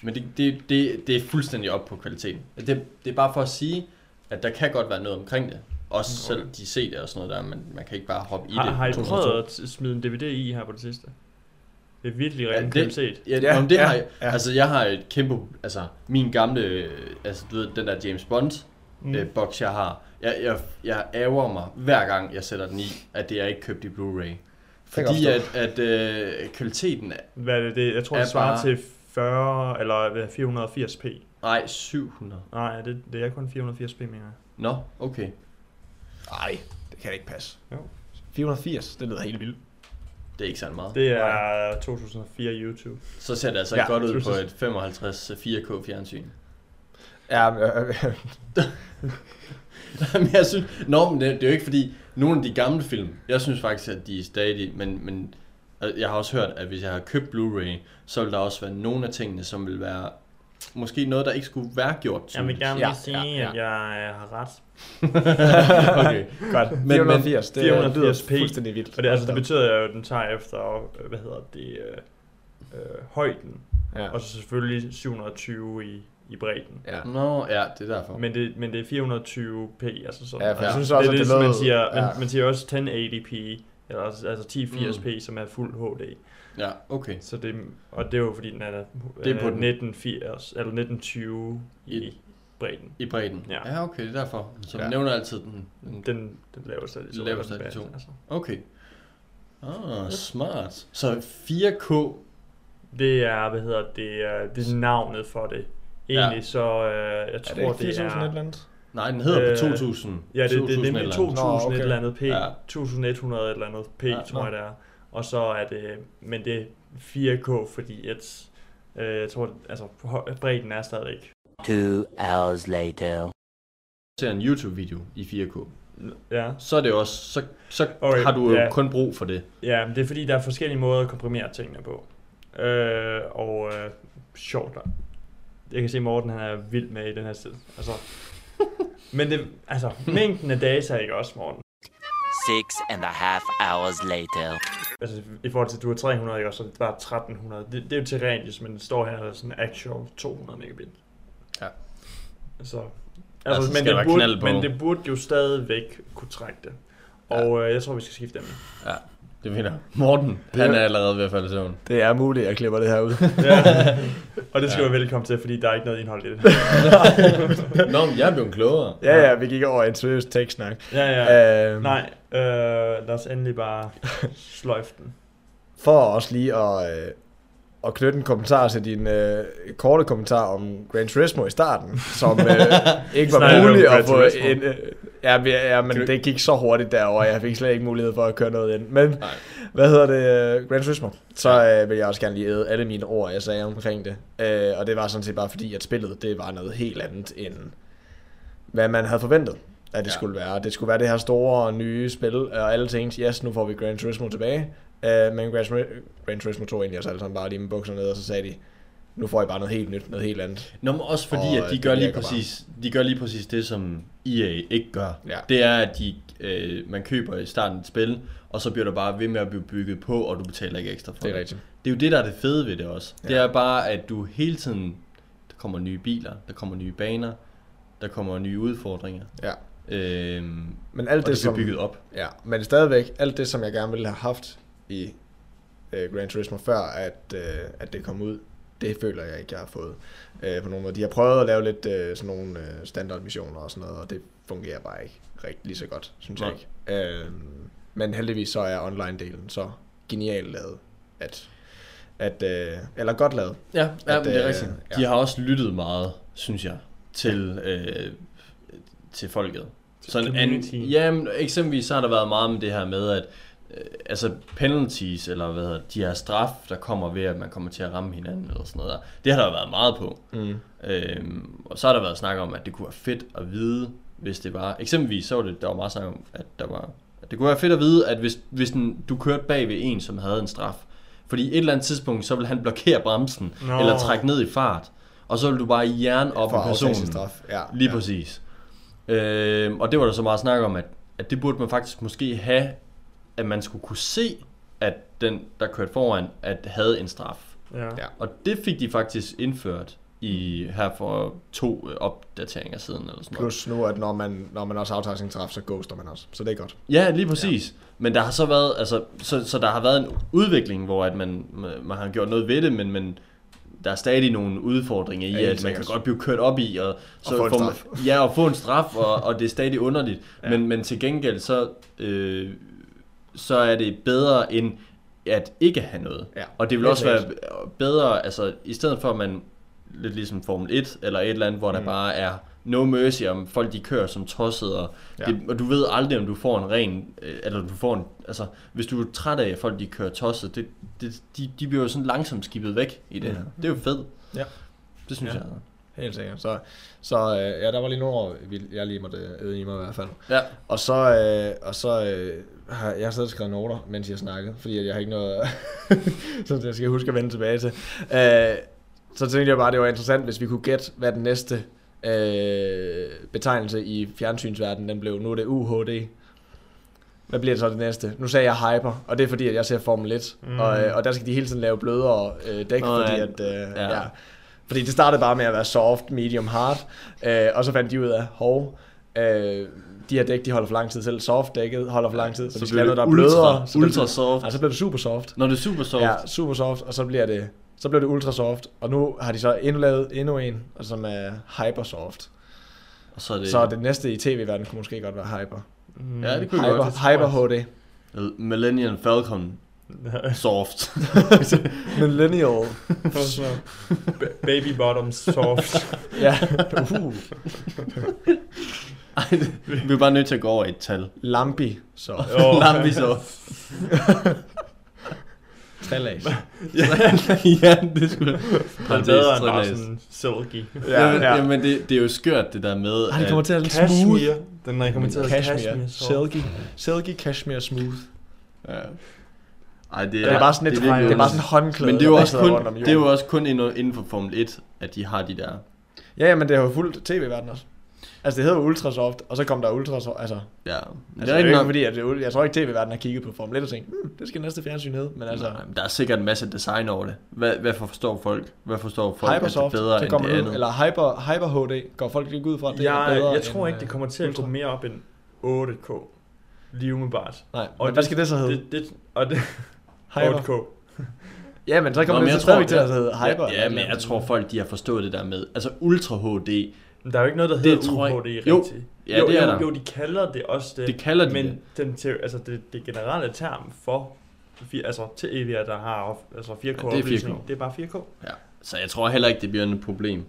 H: men det, det, det, det er fuldstændig op på kvaliteten. Altså, Det, det er bare for at sige, at der kan godt være noget omkring det. Også selv de ser det og sådan noget der, men man kan ikke bare hoppe i
A: Mm, Har,
H: det.
A: har I
H: 202.
A: prøvet at smide en DVD i her på det sidste? Det er virkelig
H: Ja,
A: rent ja,
H: det-
A: kvalitet.
H: Ja,
B: Ja,
H: ja, det
B: ja,
H: ja, har jeg,
B: ja.
H: ja. Altså, jeg har et kæmpe... Altså, min gamle... øh, Altså, du ved, den der James Bond mm. øh, box, jeg har. Jeg, jeg, jeg ærger mig, hver gang jeg sætter den i, at det er ikke købt i Blu-ray.
B: kan
H: Fordi
B: jeg
H: at, at øh, kvaliteten... er-
A: Hvad er det, det? Jeg tror,
H: Er
A: det svarer
H: bare-
A: til 40 eller hvad, 480p.
H: Nej, 700.
A: Nej, det, det er kun 480p, mener jeg.
H: Nå, okay.
B: Nej, det kan ikke passe.
A: Jo.
B: 480, det lyder helt vildt.
H: Det er ikke særlig meget. Det.
A: Det er 2004 YouTube.
H: Så ser det altså
B: Ja,
H: ja, godt ud
B: synes
H: på
B: jeg.
H: et 55 4K fjernsyn.
B: Ja, øh, øh,
H: men jeg synes, nå, men det, det er jo ikke fordi, nogle af de gamle film, jeg synes faktisk, at de er stadig, men, men øh, jeg har også hørt, at hvis jeg har købt Blu-ray, så vil der også være nogle af tingene, som vil være måske noget, der ikke skulle være gjort.
A: Jeg vil
H: tydeligt.
A: gerne
B: Ja,
A: lige sige,
B: ja, ja.
A: at jeg øh, har ret.
H: okay.
B: godt.
H: men-
B: 480, det
A: 480p.
B: lyder fuldstændig vildt.
A: Og det, altså, det betyder jo, at den tager efter, øh, hvad hedder det, øh, øh, højden.
B: Ja.
A: Og så selvfølgelig 720 i, i bredden.
B: Ja.
H: Nå, ja, det er derfor. Men,
A: Men det, men det er 420p, altså sådan.
B: Ja, for jeg
A: altså,
B: synes også,
A: det
B: at
A: er
B: det
A: som man
B: lød-
A: siger,
B: ja.
A: man, man siger også 1080p, eller også- altså 1080p, mm. som er fuld HD.
H: ja, okay.
A: Så det, og det er jo fordi, den er,
H: Det er på
A: øh,
H: den.
A: 1980, eller 1920 i
H: I-
A: bredden.
H: I bredden.
A: Ja.
H: ja okay, det er derfor. Så
B: Ja.
H: ja. nævner altid den,
B: Mm.
H: den
A: Den, den laveste af de to.
H: Laveste
A: er den
H: af de
A: bedste,
H: to.
A: Altså.
H: Okay. Ah, smart. Så 4K,
A: Det er, hvad hedder det, er, det er navnet for det. Egentlig
H: Ja.
A: så, øh, jeg
B: Er
A: tror,
B: det ikke 4000
A: det
B: et eller
A: er...
B: andet?
H: nej, den hedder øh,
A: Øh,
H: på 2000.
A: Ja, det, det er
H: 2000
A: nemlig
H: eller
A: 2000
H: andet.
B: Nå, okay.
A: et eller andet P,
H: Ja.
A: 1100 et eller andet P,
H: Ja,
A: tror
H: nå.
A: jeg det er. Og så er det, men det er 4K, fordi et, øh, jeg tror, altså hø- bredden er stadigvæk.
D: Two hours later.
H: ser en YouTube-video i 4K,
A: Ja,
H: så er det også, så, så
A: Okay,
H: okay, har du
A: ja.
H: yeah. kun brug for det.
A: ja men det er fordi, der er forskellige måder at komprimere tingene på. Øh, og øh, sjovt der. Jeg kan se, Morten han er vild med i den her tid. Altså, men det, altså, mængden af data, ikke også, Morten?
D: Six and a half hours later.
A: Altså i forhold til, at du har 300, ikke? og så er det bare 1300. Det, det er jo teoretisk, men det står her der sådan actual 200 megabit. Så,
H: Ja.
A: altså,
H: Altså,
A: altså
H: skal
A: men,
H: der
A: det
H: være knald
A: burde,
H: på.
A: men det burde jo stadigvæk kunne trække det. Og øh, jeg tror, vi skal skifte dem.
H: Ja, det mener Morten, han er allerede ved at falde i søvn.
B: Det er muligt, jeg klipper det her ud.
A: Og det skal ja. være velkommen til, fordi der er ikke noget indhold i det. her.
H: Nå, men jeg er blevet klogere.
B: ja, ja, vi gik over i en seriøs tekstsnak.
A: ja, ja.
B: Øhm,
A: Nej, øh, lad os endelig bare sløjfe den.
B: For også lige at, øh, at knytte en kommentar til din øh, korte kommentar om Gran Turismo i starten, som øh, ikke var
A: Snakker
B: mulig
A: om
B: at få
A: Gran Turismo.
B: en... Øh, ja, men- ja, men det gik så hurtigt derover, jeg fik slet ikke mulighed for at køre noget ind. Men Nej. hvad hedder det? øh, Gran Turismo. Så øh, vil jeg også gerne lige æde alle mine ord, jeg sagde omkring det. Øh, og det var sådan set bare fordi, at spillet det var noget helt andet end hvad man havde forventet, at det ja. skulle være. Det skulle være det her store nye spil, og alle tænkte, yes, nu får vi Gran Turismo tilbage. Uh, men Gran, Turismo- Gran Turismo tog egentlig os alle sammen bare lige med bukserne ned, og så sagde de, nu får I bare noget helt nyt, noget helt andet.
H: Nå, men også fordi,
B: Og,
H: og, at de
B: øh,
H: gør,
B: det
H: lige
B: virker bare.
H: præcis, de gør lige præcis det, som EA ikke gør.
B: Ja.
H: Det er, at de, øh, man køber i starten et spil, og så bliver der bare ved med at blive bygget på, og du betaler ikke ekstra for det.
B: Det er rigtigt.
H: Det er jo det, der er det fede ved det også. Ja. Det er bare, at du hele tiden... Der kommer nye biler, der kommer nye baner, der kommer nye udfordringer.
B: Ja.
H: Øhm,
B: Men alt
H: og det,
B: det,
H: det bliver
B: som,
H: bygget op.
B: Ja, men stadigvæk, alt det, som jeg gerne ville have haft i øh, Gran Turismo før, at, øh, at det kom ud, det føler jeg ikke, jeg har fået øh, på nogen måde. De har prøvet at lave lidt øh, sådan nogle øh, standardmissioner og sådan noget, og det fungerer bare ikke rigtig lige så godt, synes jeg
H: Nej.
B: ikke. Øh, men heldigvis så er online-delen så genialt lavet, at, at øh, eller godt lavet.
H: Ja, ja
B: At,
H: men det er
B: øh,
H: rigtigt.
B: ja.
H: De har også lyttet meget, synes jeg, til, øh, til folket. Sådan an,
A: community.
H: ja, men eksempelvis så har der været meget med det her med, at øh, altså penalties, eller hvad hedder det, de her straf, der kommer ved, at man kommer til at ramme hinanden, eller sådan noget der. Det har der jo været meget på. Mm. Øhm, og så har der været snak om, at det kunne være fedt at vide, hvis det var... Eksempelvis så var det, der var meget snak om, at der var... At det kunne være fedt at vide, at hvis, hvis den, du kørte bag ved en, som havde en straf, fordi et eller andet tidspunkt, så vil han blokere bremsen,
A: Nå.
H: Nå. eller trække ned i fart, og så vil du bare jern op
B: For
H: med
B: at aftage sin
H: personen.
B: straf, ja.
H: Lige
B: Ja.
H: præcis. Øhm, og det var der så meget snak om, at, at det burde man faktisk måske have, at man skulle kunne se, at den, der kørte foran, at havde en straf.
A: Ja.
B: Ja.
A: ja.
H: Og det fik de faktisk indført i her for to øh, opdateringer siden eller sådan noget.
B: Plus nu, at når man, når man også aftager sin straf, så ghoster man også, så det er godt.
H: Ja, lige præcis. Ja. Men der har så været, altså, så, så der har været en udvikling, hvor at man, man, man har gjort noget ved det, men, men der er stadig nogle udfordringer i,
B: Ja,
H: ja,
B: helt
H: at man kan
B: sikkert.
H: godt blive kørt op i, og, så
B: få en
H: får
B: straf.
H: Man, ja, og få en straf, og, og det er stadig underligt. ja. men, men til gengæld, så, øh, så er det bedre end at ikke have noget.
B: Ja,
H: og det vil
B: helt
H: også være bedre, altså i stedet for at man lidt ligesom Formel 1 eller et eller andet, hvor mm. der bare er no mercy om folk de kører som tosset, og,
B: Ja.
H: ja. det, og du ved aldrig om du får en ren, øh, eller du får en, altså hvis du er træt af at folk de kører tosset, det, det, de, de bliver jo sådan langsomt skibet væk i det her. Det er jo fedt.
B: Ja.
H: Det synes
A: Ja.
H: Mm. ja. jeg.
B: Helt sikkert. Så, så øh, ja, der var lige nogle år, vi- jeg lige måtte øh, æde i mig i hvert fald.
H: Ja.
B: Og så, øh, og så øh, har jeg har siddet og skrevet noter, mens jeg snakkede, fordi at jeg har ikke noget, som jeg skal huske at vende tilbage til. Øh, så tænkte jeg bare, det var interessant, hvis vi kunne gætte, hvad den næste øh, betegnelse i fjernsynsverdenen den blev. Nu er det UHD. Hvad bliver det så det næste? Nu sagde jeg hyper, og det er fordi, at jeg ser Formel 1, mm. og, øh, og der skal de hele tiden lave blødere øh, dæk,
H: Nå,
B: fordi
H: ja.
B: at... Øh, ja.
H: Ja.
B: ja. Fordi det startede bare med at være soft, medium, hard, øh, og så fandt de ud af, hov, øh, de her dæk, de holder for lang tid selv. Soft dækket holder for lang tid, så, så
H: Så
B: vi skal have
H: bliver
B: noget, der er
H: det ultra-
B: blødere. så bliver det-
H: ultra soft.
B: Ja, så bliver det super soft.
H: Når det er super soft,
B: Ja, super soft, og så bliver det, så bliver det ultra soft. Og nu har de så endnu lavet endnu en, og som er hyper soft.
H: og så er det,
B: Så det næste i tv-verdenen kunne måske godt være hyper.
H: ja, det kunne
B: Hyper,
H: godt.
B: hyper HD.
H: Millennium Falcon Soft.
B: Millennial.
A: Baby bottom soft.
B: ja. Uh,
H: Ej, det- vi er bare nødt til at gå over et tal.
B: lampi. Så
A: Åh,
H: Lambi Soft.
B: trælæs.
H: ja, det skulle
A: Den er bedre end bare sådan silky.
H: Ja, ja.
B: ja.
H: Jamen, det, det er jo skørt, det der med,
B: Ej, det kommer til at være lidt smooth.
A: Cashmere. Den rekommenderede
B: Cashmere.
A: cashmere. soft.
B: Silky. Silky cashmere smooth.
H: Ja. Ej, det,
B: Det er bare sådan lidt, det er, det er bare sådan
H: virkelig
B: en håndklæde.
H: men det er, jo
B: der
H: også
B: sidder rundt
H: kun,
B: om
H: det er jo
B: jorden.
H: også kun inden, inden for Formel 1, at de har de der...
B: Ja, ja, men det har jo fuldt tv-verden også. Altså, det hedder jo Ultrasoft, og så kom der Ultrasoft. Altså, altså
H: Ja, Men
B: det er, det er jo ikke fordi, at det, er ul- jeg tror ikke, tv-verden har kigget på Formel 1 og tænkt, hmm, det skal næste fjernsyn hedde. Men altså,
H: Nej, men der er sikkert en masse design over det. Hvad, hvad forstår folk? Hvad forstår folk,
B: Hypersoft,
H: at det er bedre
B: så
H: end
B: kommer
H: det
B: ud,
H: andet?
B: eller Hyper, Hyper HD, går folk ikke ud fra, at det er
A: Jeg,
B: bedre
A: jeg
B: end,
A: tror ikke, det
B: øh,
A: kommer til at gå
B: Ultra.
A: mere op end 8K. Lige umiddelbart.
B: Nej, og men hvad skal det så hedde?
A: Det, det, og det,
B: Hyper.
A: 8K.
B: Ja, men så
H: Nå,
B: kommer
H: men
B: det så
H: jeg tror-
B: stadigvæk til at hedde Hyper.
H: Ja, ja, men jeg tror folk, de har forstået det der med. Altså Ultra HD,
A: Men der er jo ikke noget, der
H: Det
A: hedder
H: tror jeg-
A: UHD rigtigt.
H: Jo. Ja,
A: jo,
H: det er
A: jo,
H: der.
A: jo, de kalder det også det.
H: Det kalder de
A: men
H: det.
A: Den te- altså det, det generelle term for fi- altså, til Avia, der har of- altså 4K
H: Ja, det er 4K.
A: opløsning. Det er bare Øh, 4K.
H: Ja. Så jeg tror heller ikke, det bliver et problem.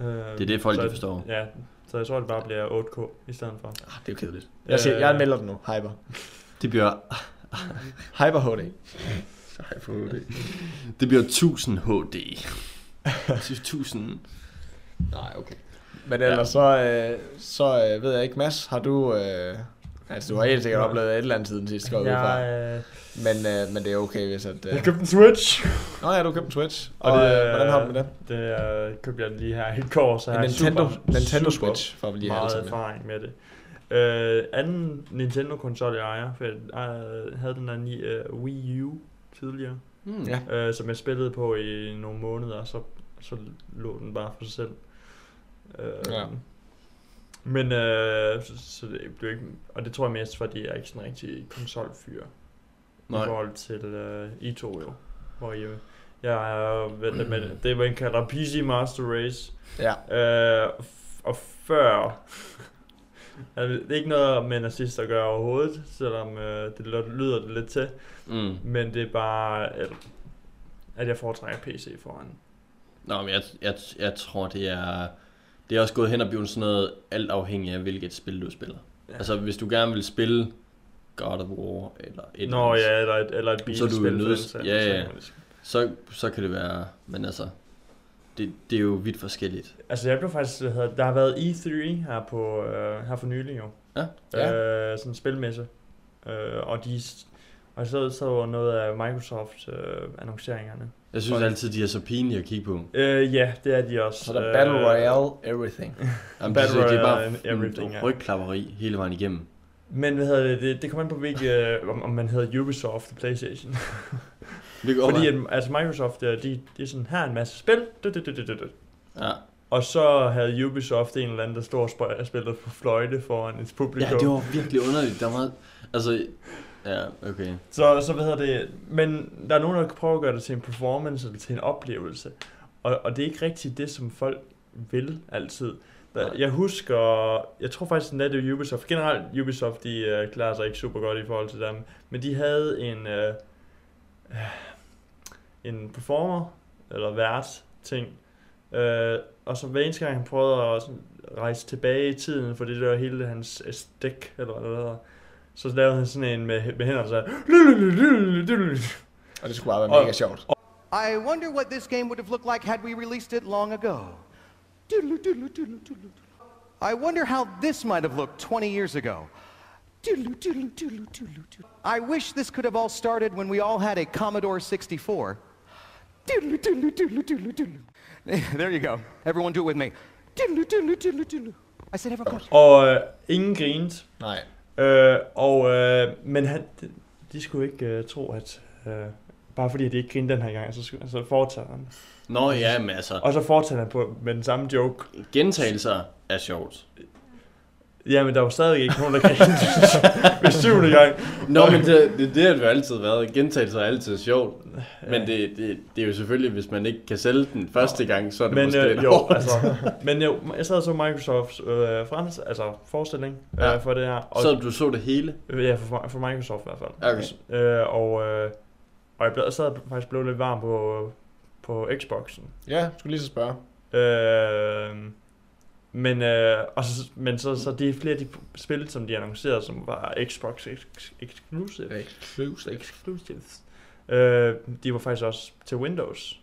A: Øh,
H: Det er det, folk de forstår.
A: Ja, så jeg tror, det bare bliver 8K i stedet for.
H: Ah, det er jo kedeligt.
B: Jeg, siger, jeg
A: Øh,
B: melder den nu. Hyper.
H: Det bliver...
B: Hyper HD.
H: Hyper HD. Det bliver 1000 HD. 1000... Nej, okay.
B: Men ellers så, øh, så øh, ved jeg ikke. Mads, har du... Øh, altså, du har helt sikkert oplevet et eller andet siden sidst, går jeg ud fra.
A: Jeg, øh,
B: Men, øh, men det er okay, hvis at... Øh...
A: jeg købte en Switch.
B: Nå ja, du købte en Switch. Og,
A: Og
B: og
A: det,
B: øh, hvordan har du det med det?
A: Det øh, købte jeg lige her i går, så jeg
B: En
A: har
B: Nintendo,
A: super,
B: Nintendo
A: super
B: Switch, for at vi lige har
A: meget
B: det med.
A: erfaring med det. Øh, anden Nintendo-konsol, jeg ejer, for jeg øh, havde den der ni, øh, Wii U tidligere,
H: Hmm.
B: Ja.
H: Ja.
A: øh, som jeg spillede på i nogle måneder, og så, så lå den bare for sig selv. Øh,
B: Ja.
A: Men øh, så, så det blev ikke, og det tror jeg mest, fordi jeg er ikke sådan en rigtig konsolfyr i
H: Nej.
A: forhold til øh, I to jo. Hvor I, øh, jeg er vent lidt med det, det er, man kalder PC Master Race.
B: Ja.
A: Øh, f- og før... Altså, det er ikke noget med nazister at gøre overhovedet, selvom øh, det lyder- lyder det lidt til.
H: Mm.
A: Men det er bare, at, at jeg foretrækker PC foran.
H: Nå, men jeg, jeg, jeg tror, det er... Det er også gået hen og blevet sådan noget alt afhængig af, hvilket spil du spiller. Ja. Altså, hvis du gerne vil spille God of War eller et eller
A: Nå
H: andet,
A: ja, eller et, eller et bilspil.
H: Så er du jo
A: for
H: nødt-
A: den sags
H: ja, ja.
A: skyld.
H: så, så kan det være... Men altså, det, det er jo vidt forskelligt.
A: Altså jeg blev faktisk, hvad hedder, det, der har været E3 her, på, øh, her for nylig jo.
H: Ja.
B: Ja.
A: Øh, sådan en spilmesse. Øh, og de s- og så, så var noget af Microsoft øh, annonceringerne.
H: Jeg synes
A: Okay.
H: altid, de er så pinlige at kigige på.
A: Øh, ja, det er de også.
B: Så der er
A: Øh,
B: Battle Royale, everything.
H: Jamen, det,
A: Battle
H: det, det
A: Royale
H: er bare
A: and øh, everything, ja.
H: mm, rygklapperi hele vejen igennem.
A: Men hvad hedder det, det, det kommer an på hvilke, øh, om, om man hedder Ubisoft og Playstation.
H: Det kan godt
A: Fordi at,
H: være.
A: altså Microsoft, øh, de, de er sådan, her er en masse spil, du, du, du, du, du, du.
H: ja.
A: og så havde Ubisoft en eller anden, der stod og spøj- spillede på fløjte foran et publikum.
H: ja, det var virkelig underligt. Der var, altså, ja, okay.
A: Så, så hvad hedder det, men der er nogen, der prøver at gøre det til en performance eller til en oplevelse. Og, og det er ikke rigtigt det, som folk vil altid. Der,
H: Nej.
A: jeg husker, jeg tror faktisk, at det er Ubisoft. Generelt Ubisoft, de øh, klarer sig ikke super godt i forhold til dem. Men de havde en, øh, øh, en performer, eller vært, ting. Øh, og så hver eneste gang, han prøvede at sådan, rejse tilbage i tiden, for det der hele hans stik, eller hvad det hedder, så lavede han sådan en med, med hænderne, så
B: Og det skulle bare være
A: Og-
B: mega sjovt.
D: I wonder what this game would have looked like had we released it long ago. Doodaloo, doodaloo, doodaloo, doodaloo. I wonder how this might have looked 20 years ago. Doodaloo, doodaloo, doodaloo, doodaloo, doodaloo. I wish this could have all started when we all had a Commodore 64. Doodaloo, doodaloo, doodaloo, doodaloo, doodaloo. there you go. Everyone do it with me. Doodaloo, doodaloo, doodaloo, doodaloo. I said everyone.
A: og øh, ingen grinte.
B: Nej.
A: Øh, og, øh, men han, de, de skulle ikke øh, tro, at øh, bare fordi at de ikke grinte den her gang, så, skulle- så fortsætter han.
H: Nå ja, men altså,
A: Og så fortsætter han på, med den samme joke.
H: gentagelser er sjovt.
A: Ja, men der var stadig ikke nogen, der grinte ved syvende gang.
H: Nå, men det, det, det har det jo altid været. Gentagelser er altid sjovt. Men det, det, det er jo selvfølgelig, hvis man ikke kan sælge den første gang, så er det
A: Men
H: måske
A: øh,
H: lidt
A: jo,
H: hårdt.
A: altså, men jo, jeg sad og så Microsofts øh, frans, altså forestilling øh,
H: Ja.
A: for det her. Og,
H: Så du så det hele?
A: Øh, Ja, for, for Microsoft i hvert fald.
H: Okay.
A: Øh, og, øh, og jeg, blev, jeg sad faktisk blev lidt varm på, på Xboxen.
B: Ja, jeg skulle lige så spørge.
A: Øh, men øh, og så, men så, så det er flere af de spil, som de annoncerede, som var Xbox ex- exclusive.
B: Exclusive.
A: Exclusives. Øh, de var faktisk også til Windows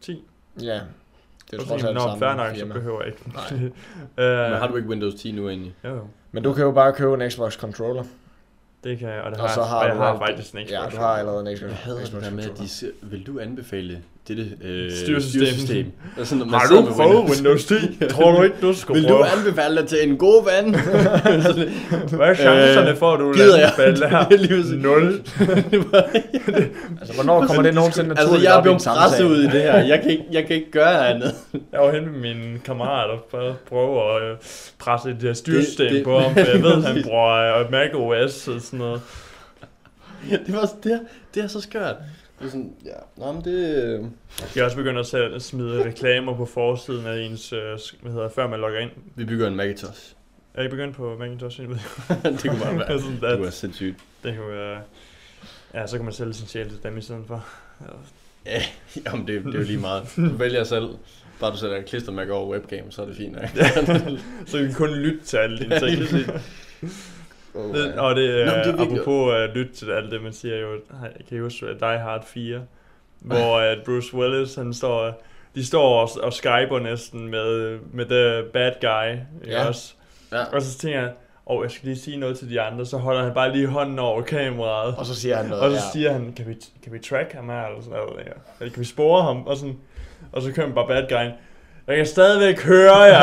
A: 10.
B: Ja. Det er
A: Og
B: jo
A: så
B: trods
A: tænkte jeg,
B: alt
A: "Nå, fair
B: samme
A: nok, så
B: firma.
A: behøver jeg ikke.
B: Nej.
A: øh,
H: Men har du ikke Windows 10 nu egentlig?
A: Jo, jo,
B: Men du kan jo bare købe en Xbox controller.
A: det kan jeg, og det
B: Og
A: har,
B: så
A: jeg-
B: har
A: og jeg
B: du
A: har
B: alt-
A: faktisk en Xbox.
B: Ja, du har allerede en Xbox,
H: Jeg hader
B: Xbox
H: det der med, at
B: controller.
H: de siger, vil du anbefale dette øh,
A: Styresystem."
H: styresystem? Og sådan, når man
A: Har
H: sidder
A: du
H: med
A: prøvet Windows 10? Tror du ikke, du skulle
H: Vil du
A: prøve?
H: anbefale det til en god ven? Altså,
A: Hvad er chancerne for, at du vil
H: Øh, gider jeg?
A: anbefale det her?
H: Det er lige præcis.
A: Nul.
B: Altså, hvornår kommer det nogensinde
H: altså,
B: naturligt
H: jeg er
B: op i en
H: blevet presset
B: samtale?
H: ud i det her. Jeg kan ikke, jeg kan ikke gøre andet.
A: Jeg var henne med mine kammerater for at prøve at øh, presse et øh, styresystem
H: Det- det-
A: på ham, for jeg ved, at han
H: Præcis.
A: bruger øh, Mac OS og sådan noget.
H: Det, var, det, er, det er så skørt. Det er sådan, ja, nå, men det... øh,
A: Jeg er også begyndt at sætte- smide reklamer på forsiden af ens, øh, sk- hvad hedder, det, før man logger ind.
H: Vi bygger en Macintosh.
A: Er I begyndt på Macintosh? Jeg ved ikke.
H: det kunne bare være.
A: Sådan,
H: Det kunne være
A: at-
H: sindssygt.
A: det kunne være... øh, Ja, så kan man sælge sin sjæl til dem i stedet for.
H: Ja, jamen det, det er jo lige meget. Du vælger selv. Bare du sætter et klistermærke over webcam, så er det fint. Ikke?
A: så kan vi kun lytte til alle dine ting.
H: Oh,
A: Det,
H: ja.
A: og det, Nå,
H: Nå, men det er
A: det
H: virkelig-
A: apropos øh, at lytte til alt det, man siger jo, kan I huske Die Hard 4, hvor
H: Ah.
A: at Bruce Willis, han står, de står og, og skyper næsten med, med the bad guy, ikke
H: Ja.
A: også?
H: Ja.
A: Og så tænker jeg, og jeg skal lige sige noget til de andre, så holder han bare lige hånden over kameraet.
B: Og så siger han noget,
A: Og så
B: ja.
A: siger han, kan vi, kan vi track ham her, eller sådan noget, ikke? eller kan vi spore ham, og, sådan, og så kører man bare bad guyen. Jeg kan stadigvæk høre jer.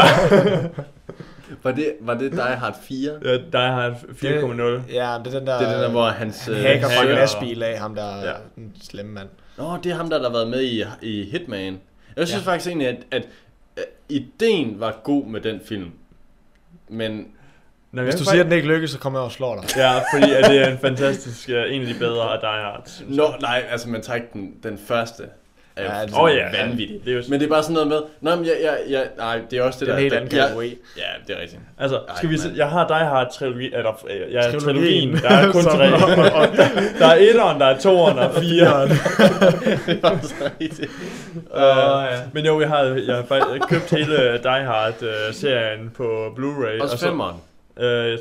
H: Var det, var det Die Hard 4? Det
A: Ja, Die Hard 4.0.
B: Ja, det er den der...
H: er den der, hvor hans... øh,
B: han hacker fra en
A: hacker.
B: lastbil af ham, der ja.
A: Ja.
B: den slemme mand.
H: Nå, det er ham, der, der har været med i, i Hitman. Jeg synes ja. faktisk egentlig, at, at, at ideen var god med den film. Men
A: Nå, men
B: Hvis
A: jeg
B: du
A: kan
B: siger, at den ikke lykkes, så kommer jeg og slår dig.
A: Ja, fordi at det er en fantastisk, uh, en af de bedre af Die Hard. synes jeg.
H: Nå, nej, altså man tager ikke den, den første. Er
B: Ja,
H: ja,
B: det-
H: det
A: Åh, ja.
H: vanvittigt.
A: Det er jo-
H: Men det er bare sådan noget med, nej, men jeg, jeg, jeg, nej, det er også det,
B: Det er
H: der...
B: en helt
H: der-
B: anden
H: jeg-
B: kategori.
H: Ja, det er rigtigt.
A: Altså, skal
H: Ej,
A: vi se,
H: mand.
A: jeg har Die Hard trilogi, eller øh, ja,
B: Trilogien.
A: trilogien. trilogien. Der er kun
B: Som-
A: tre. der er etteren, der er toeren og fireren.
H: det er også rigtigt.
A: Uh, men jo, jeg har, jeg har faktisk købt hele øh, Die Hard-serien på Blu-ray.
H: Også femmeren.
A: Øh, jeg-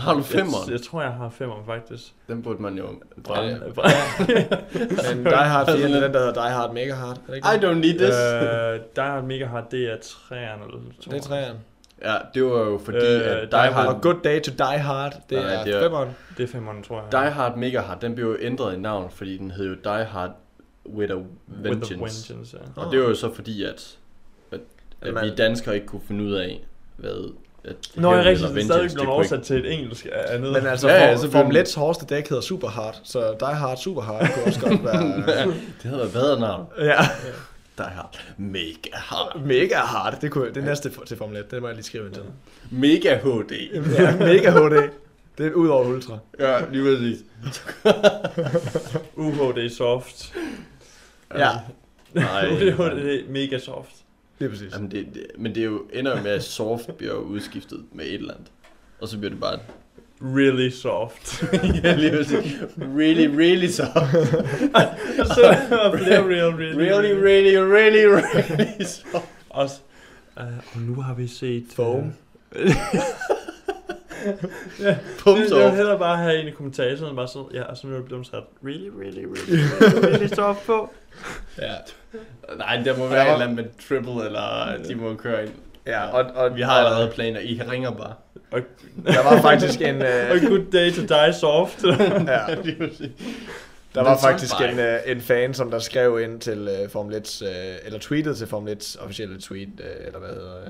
H: Har du
A: jeg-
H: femmeren?
A: Jeg, jeg, tror, jeg har femmeren, faktisk.
H: Den burde man jo brænde.
B: Men Die Hard 4, det er den, der hedder Die Hard Mega Hard. Er det ikke
H: I
B: det?
H: don't need this.
A: Øh, Die Hard Mega Hard, det er træerne eller toeren.
B: Det er træerne.
H: Ja, det var jo fordi,
A: Øh,
H: øh, at
A: Die Hard-
H: Die
B: Og
H: Hard,
B: Good Day to Die Hard, det
H: Nej,
B: er
H: det er-
B: femmeren.
A: Det er femmeren, tror jeg.
H: Die Hard Mega Hard, den blev jo ændret i navn, fordi den hed jo Die Hard With a
A: With
H: Vengeance.
A: the Vengeance, ja.
H: Og det var jo så fordi, at, at, at
B: Jamen,
H: vi danskere ikke kunne finde ud af, hvad... At
A: Nå, jeg er
H: hævn
A: rigtig
H: eller
A: det er
H: vengeance,
A: stadig
H: det
A: blevet
H: kunne
A: oversat til et engelsk af andet.
B: Men altså,
H: Ja, ja,
B: ja,
H: så
B: ja,
H: blev
B: Formel
H: den-
B: 1's hårdeste dæk hedder Super Hard, så Die Hard Super Hard kunne også godt være...
H: ikke- Det havde været bedre navn.
B: ja,
H: Die Hard Mega Hard.
B: Mega Hard, det, kunne, det næste for- til Formel 1, det må jeg lige skrive ind til.
H: Mega HD.
B: Ja, Mega HD, det er ud over Ultra.
H: Ja, lige præcis.
A: UHD soft.
B: Ja,
H: Nej,
A: UHD mega soft.
B: det er præcis.
H: Jamen det, det, men det er jo ender jo med, at soft bliver jo udskiftet med et eller andet. Og så bliver det bare...
A: Really soft.
H: ja, lige præcis. Really, really soft.
A: Så det er real, really.
H: Really, really, really, really soft.
A: Også, øh, og nu har vi set... øh,
B: Foam.
H: Pump
A: det, jeg vil
H: soft.
A: hellere bare have en i kommentatoren bare sådan, ja, og så bliver de sat really, really, really, really, really soft på.
B: Ja.
H: Nej, der må være et eller andet med triple, eller de må køre ind.
B: Ja, og, og
H: Vi har allerede planer. I ringer bare.
A: Og,
B: Der var faktisk en...
A: og
B: Øh,
A: good day to die soft.
B: ja,
H: Lige præcis.
B: der var
H: Men sådan
B: faktisk
H: bare.
B: en, øh, en fan, som der skrev ind til øh, Formel 1's, øh, eller tweetede til Formel 1's officielle tweet, øh, eller hvad hedder øh,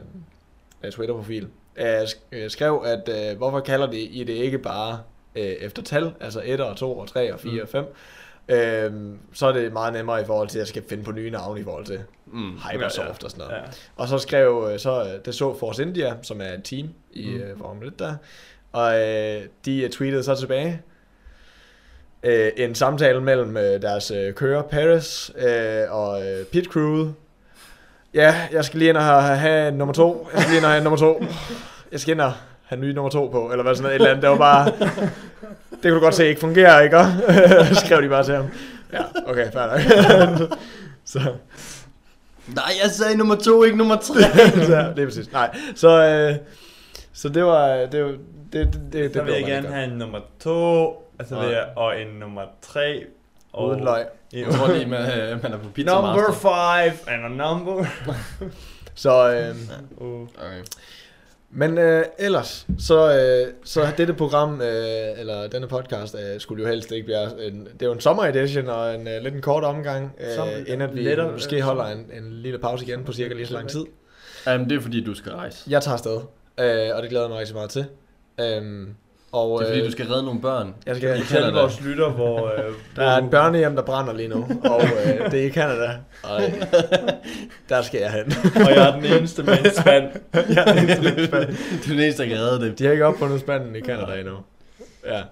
B: øh, Twitter-profil, øh, sk- øh, skrev, at øh, hvorfor kalder de, I det ikke bare øh, efter tal, altså 1 og 2 og 3 og 4 og 5, Øhm, så er det meget nemmere i forhold til, at jeg skal finde på nye navne i forhold til
H: Mm.
B: Hypersoft
A: Ja, ja.
B: og sådan noget.
A: Ja.
B: Og så skrev, øh, så øh, det så Force India, som er et team i mm. Formel 1 der, og øh, de øh, tweetede så tilbage, øh, en samtale mellem øh, deres øh, kører Paris øh, og øh, pit crewet. Ja, jeg skal lige ind og have, have nummer to. Jeg skal lige ind og have nummer to. Jeg skal ind og have ny nummer to på, eller hvad sådan noget, et eller andet. Det var bare, det kunne du godt se ikke fungerer, ikke? Og skrev de bare til ham. Ja, okay, fair nok. så,
H: Nej, jeg sagde nummer to, ikke nummer tre.
B: så, det er præcis. Nej, så, øh, så det var, det, var- det, det, det, det
A: Så vil
B: blev
A: jeg
B: man
A: gerne
B: ikke
A: have en nummer to, og så vil
H: Nej.
A: jeg, og en nummer tre.
B: godt.
A: Og
B: Uden løg.
A: en-
H: Jeg tror lige, man, øh, man er på pizza
A: Number
H: master.
A: five and a number.
B: Så, øh,
A: Uh,
H: Okay.
B: Men øh, ellers, så, øh, så har dette program, øh, eller denne podcast, øh, skulle jo helst ikke være, en, det er jo en sommeredition og en øh, lidt en kort omgang,
A: Som-
B: øh, inden at vi
A: lettere-
B: måske
A: øh,
B: holder en, en lille pause igen på cirka lige så lang tid.
H: Jamen, det er fordi, du skal rejse.
B: Jeg tager afsted, øh, og det glæder jeg mig rigtig meget til. Øhm, og,
H: Det er fordi, du
B: øh,
H: skal redde nogle børn.
B: jeg skal,
H: Canada.
A: til vores lytter, hvor... Øh,
B: der er et børnehjem, der brænder lige nu, og øh, det er i Canada. Og, øh, der skal jeg hen.
A: og jeg er den eneste med en spand.
B: jeg er den eneste spand.
H: Du er den eneste, der kan redde dem.
B: De har ikke opfundet spanden i Canada endnu. Ja.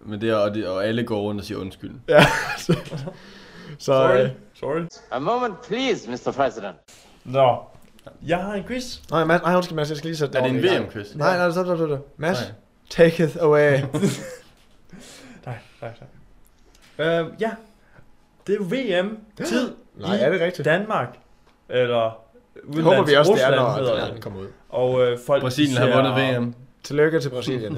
H: Men det er, og, det, og alle går rundt og siger undskyld.
B: ja. Så, så
A: Sorry.
B: øh,
A: Sorry.
K: A moment, please, Mr. President.
A: Nå. Jeg har en quiz.
B: Nej, Mads, nej, undskyld Mads, jeg skal lige sætte
H: Er det en
B: ordentligt i gang.
H: VM-quiz?
B: Nej, nej, stop, stop, stop, stop. Mads,
H: Nej.
B: take it away.
A: Nej, nej, nej. Øh, ja, det er VM-tid
B: Nej, er det rigtigt?
A: Danmark. Eller udenlands,
B: håber vi også, det er,
A: Rusland,
B: når
A: hedder
B: den kommer ud.
A: Og øh, folk
H: Brasilien har vundet VM.
B: Tillykke til Brasilien.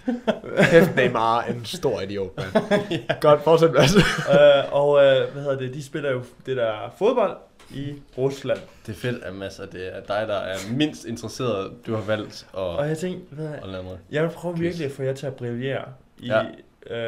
B: Kæft, Neymar er en stor idiot, mand. Godt, fortsæt Mads.
A: øh, og øh, hvad hedder det, de spiller jo det der fodbold i Rusland.
H: Det er fedt, at Mads, at det er dig, der er mindst interesseret, du har valgt at,
A: Og jeg tænkte, hvad,
H: at lade mig.
A: jeg vil prøve virkelig at få jer til at brillere. I, ja.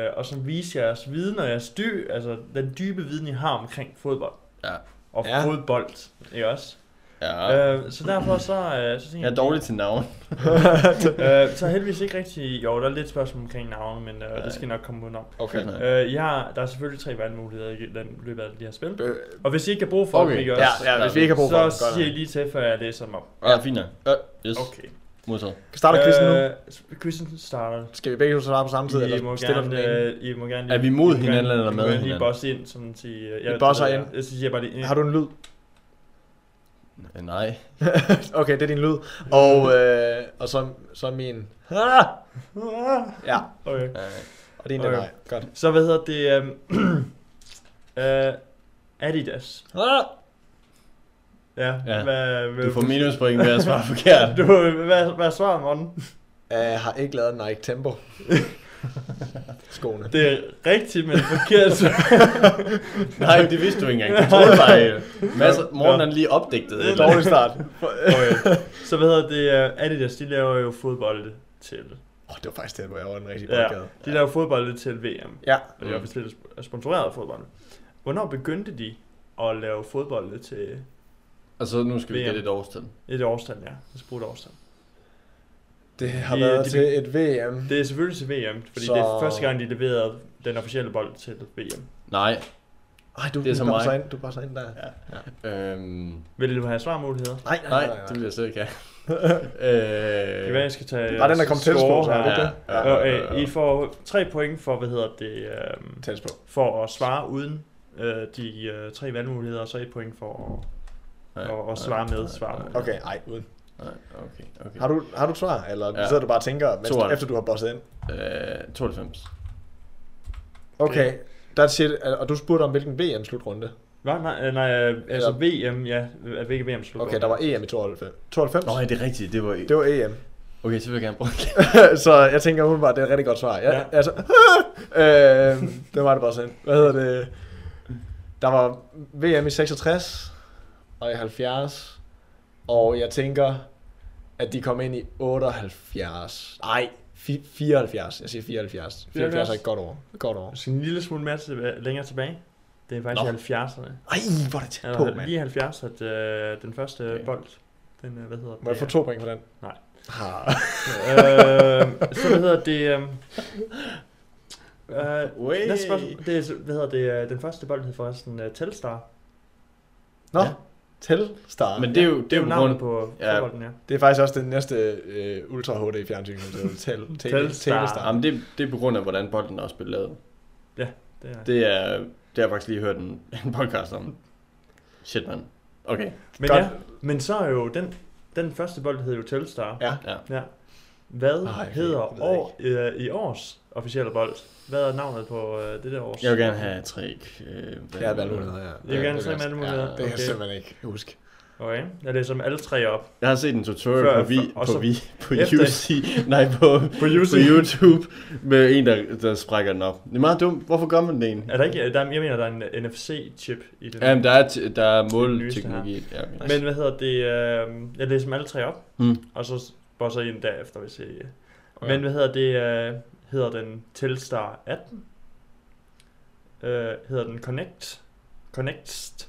A: øh, og så vise jeres viden og jeres dy, altså den dybe viden, I har omkring fodbold.
H: Ja.
A: Og
B: Ja.
A: ja. fodbold, ikke også?
H: Ja.
A: Øh, så derfor så... Øh, så tænkte
H: Jeg er dårlig til navn.
A: øh, så heldigvis ikke rigtig... Jo, der er lidt spørgsmål omkring navne, men øh, det skal I nok komme udenom.
B: Okay.
A: Øh, ja, der er selvfølgelig tre valgmuligheder i den- løbet af det her spil.
B: Øh,
A: Og hvis I ikke har brug for okay. dem, ikke også,
B: ja, ja, hvis vi ikke har brug for
A: så
B: dem, godt
A: siger I
B: nok.
A: lige til, før jeg læser dem op.
H: Ja, fint nok. Øh, Yes,
A: Okay.
H: modtaget.
B: Starter quizzen nu?
A: nu? Quizzen starter.
B: Skal Øh, vi begge to svare på samme tid,
A: I
B: eller
A: må,
B: stiller den
A: gerne, øh, I må gerne
H: Er vi mod hinanden, eller
A: hinanden? I må
H: med
A: gerne lige
H: hinanden?
A: bosse ind, som man siger. Jeg,
B: Vi
A: ved-
B: bosser
A: jeg-
B: ind.
A: Jeg siger bare lige ind.
B: Har du en lyd?
H: Øh, Nej.
B: Okay, det er din lyd. Og, øh, og så, så min. Ah! Ja,
A: Okay.
H: Øh,
B: og din okay.
A: Okay.
B: nej. Godt.
A: Så hvad hedder det? øhm, øh, Adidas.
B: Ah!
A: Ja.
H: Ja.
A: Hvad, hvad,
H: Du får minuspoint ved at svare forkert.
A: du, hvad, hvad er svaret, Morten?
B: Jeg Øh, har ikke lavet Nike Tempo. Skoene.
A: Det er rigtigt, men forkert.
H: Nej, det vidste du ikke engang. Du troede bare, øh, Mads, morgen er lige opdigtet.
A: Det er
H: eller-
B: Dårlig start.
A: okay. Så hvad hedder det? øh, Adidas, de laver jo fodbold til.
B: Åh, oh, det var faktisk det, hvor jeg var en rigtig
A: Ja,
B: boldgade.
A: de laver fodbold til VM.
B: Ja.
A: Og det er officielt sponsoreret af fodbold. Hvornår begyndte de at lave fodbold til
H: Og så nu skal vi
A: VM.
H: gætte et årstal.
A: et årstal, ja? Et sprudt årstal.
B: Det har
A: De-
B: været
A: de-
B: til et VM.
A: Det er selvfølgelig til VM, fordi
B: Så-
A: så... det er første gang, de leverede den officielle bold til VM.
H: Nej.
B: Ej, du,
H: Det er så
B: du
H: mig.
B: passer Ind, du passer ind der. Ja.
H: Øhm,
A: Vil du have svarmuligheder?
B: Nej,
H: nej, det vil jeg slet ikke have. øh,
A: Det kan være, jeg skal tage...
B: Det var den, der kom
A: score
B: tættest på, så
A: her.
B: er det
H: ja,
B: det?
H: ja,
A: Og,
H: ja, ja,
A: øh,
H: ja.
A: I får tre point for, hvad hedder det, øhm,
B: Tæt på.
A: for at svare uden øh, de øh, tre valgmuligheder, og så et point for at,
H: Ja,
A: at, at
H: ja,
A: svare
H: ja,
A: med svar.
B: Okay, ej, uden.
H: Nej, okay, okay.
B: Har du, har du et svar, eller ja.
H: Ja.
B: sidder du bare og tænker, mens,
H: Toeren.
B: efter du har bosset ind?
H: Øh, 92.
B: Okay, der siger, og du spurgte om, hvilken VM-slutrunde?
A: Hvad? Nej, øh, nej, øh, altså VM, ja, at hvilket VM slutter.
B: Okay, der var EM i 92. 92?
H: Nå, ja, det er rigtigt. Det var...
B: Det var E EM.
H: Okay, så vil jeg gerne bruge det.
B: så jeg tænker umiddelbart, det er et rigtig godt svar. Jeg, ja.
A: Ja.
B: altså, øh, det var det bare sådan. Hvad hedder det? Der var VM i 66 og i 70, og jeg tænker, at de kom ind i 78. Nej, 74. Jeg siger 74. 74 er et godt år. Et Godt år.
A: Jeg skal en lille smule mere til, øh, længere tilbage. Det er
B: Nå.
A: faktisk Nå. i 70'erne.
B: Ej, hvor er det tæt på,
A: Eller
B: mand.
A: lige i 70, at øh, den første
H: Okay.
A: okay. bold, den, øh, hvad hedder det?
B: Må jeg få to point for den?
A: Nej.
B: Ah,
A: øh, så hvad hedder det? Øh, øh,
H: Way.
A: Næste spørgsmål, det er, hvad hedder det, øh, den første bold hed forresten uh, Telstar.
B: Nå,
H: Ja.
B: til start.
H: Men det er jo, det
A: Det
H: er
A: er jo
H: jo
A: navnet
H: på... grund-
A: på
H: Ja.
A: ja. bolden, ja.
B: Det er faktisk også den næste øh, Ultra HD fjernsyn, som hedder Tel, Tel,
A: Telstar.
B: Telestar.
H: Jamen, det, det er på grund af, hvordan bolden også blev lavet.
A: Det er. Det,
H: Det er... Det har jeg faktisk lige hørt en, en podcast om. Shit, mand. Okay.
A: men,
B: godt.
A: ja, men så er jo den, den første bold hed jo Telstar.
B: Ja.
H: Ja.
A: ja. Hvad
B: Ej,
A: Ej,
B: det ved
A: hedder
B: jeg
A: år, øh, i års officielle bold? Hvad er navnet på øh, det der års?
H: Jeg vil gerne have tre. Øh,
B: Det er valgmuligheder, ja.
A: Jeg vil gerne se med alle
H: Ja,
A: muligheder.
B: Det kan jeg
A: okay.
B: simpelthen ikke huske.
A: okay, jeg læser dem alle tre op.
H: Jeg har set en tutorial
A: Før-
H: på, vi,
A: og
H: på,
A: så-
H: vi, på
A: efter-
H: UC, nej, på, på,
A: UC.
H: på YouTube med en, der, der sprækker den op. Det er meget dumt. Hvorfor gør man det egentlig?
A: Er der ikke, der, jeg mener, der er en NFC-chip i den.
H: Jamen, der er, t- der er
A: nyeste her.
H: målteknologi. Ja, okay.
A: Men hvad hedder det? Øh, jeg læser dem alle tre op,
H: Mm.
A: og så bosser I en dag efter, hvis I... Okay. Men hvad hedder det? Øh, hedder den Telstar 18? Øh, hedder den Connect? Connect?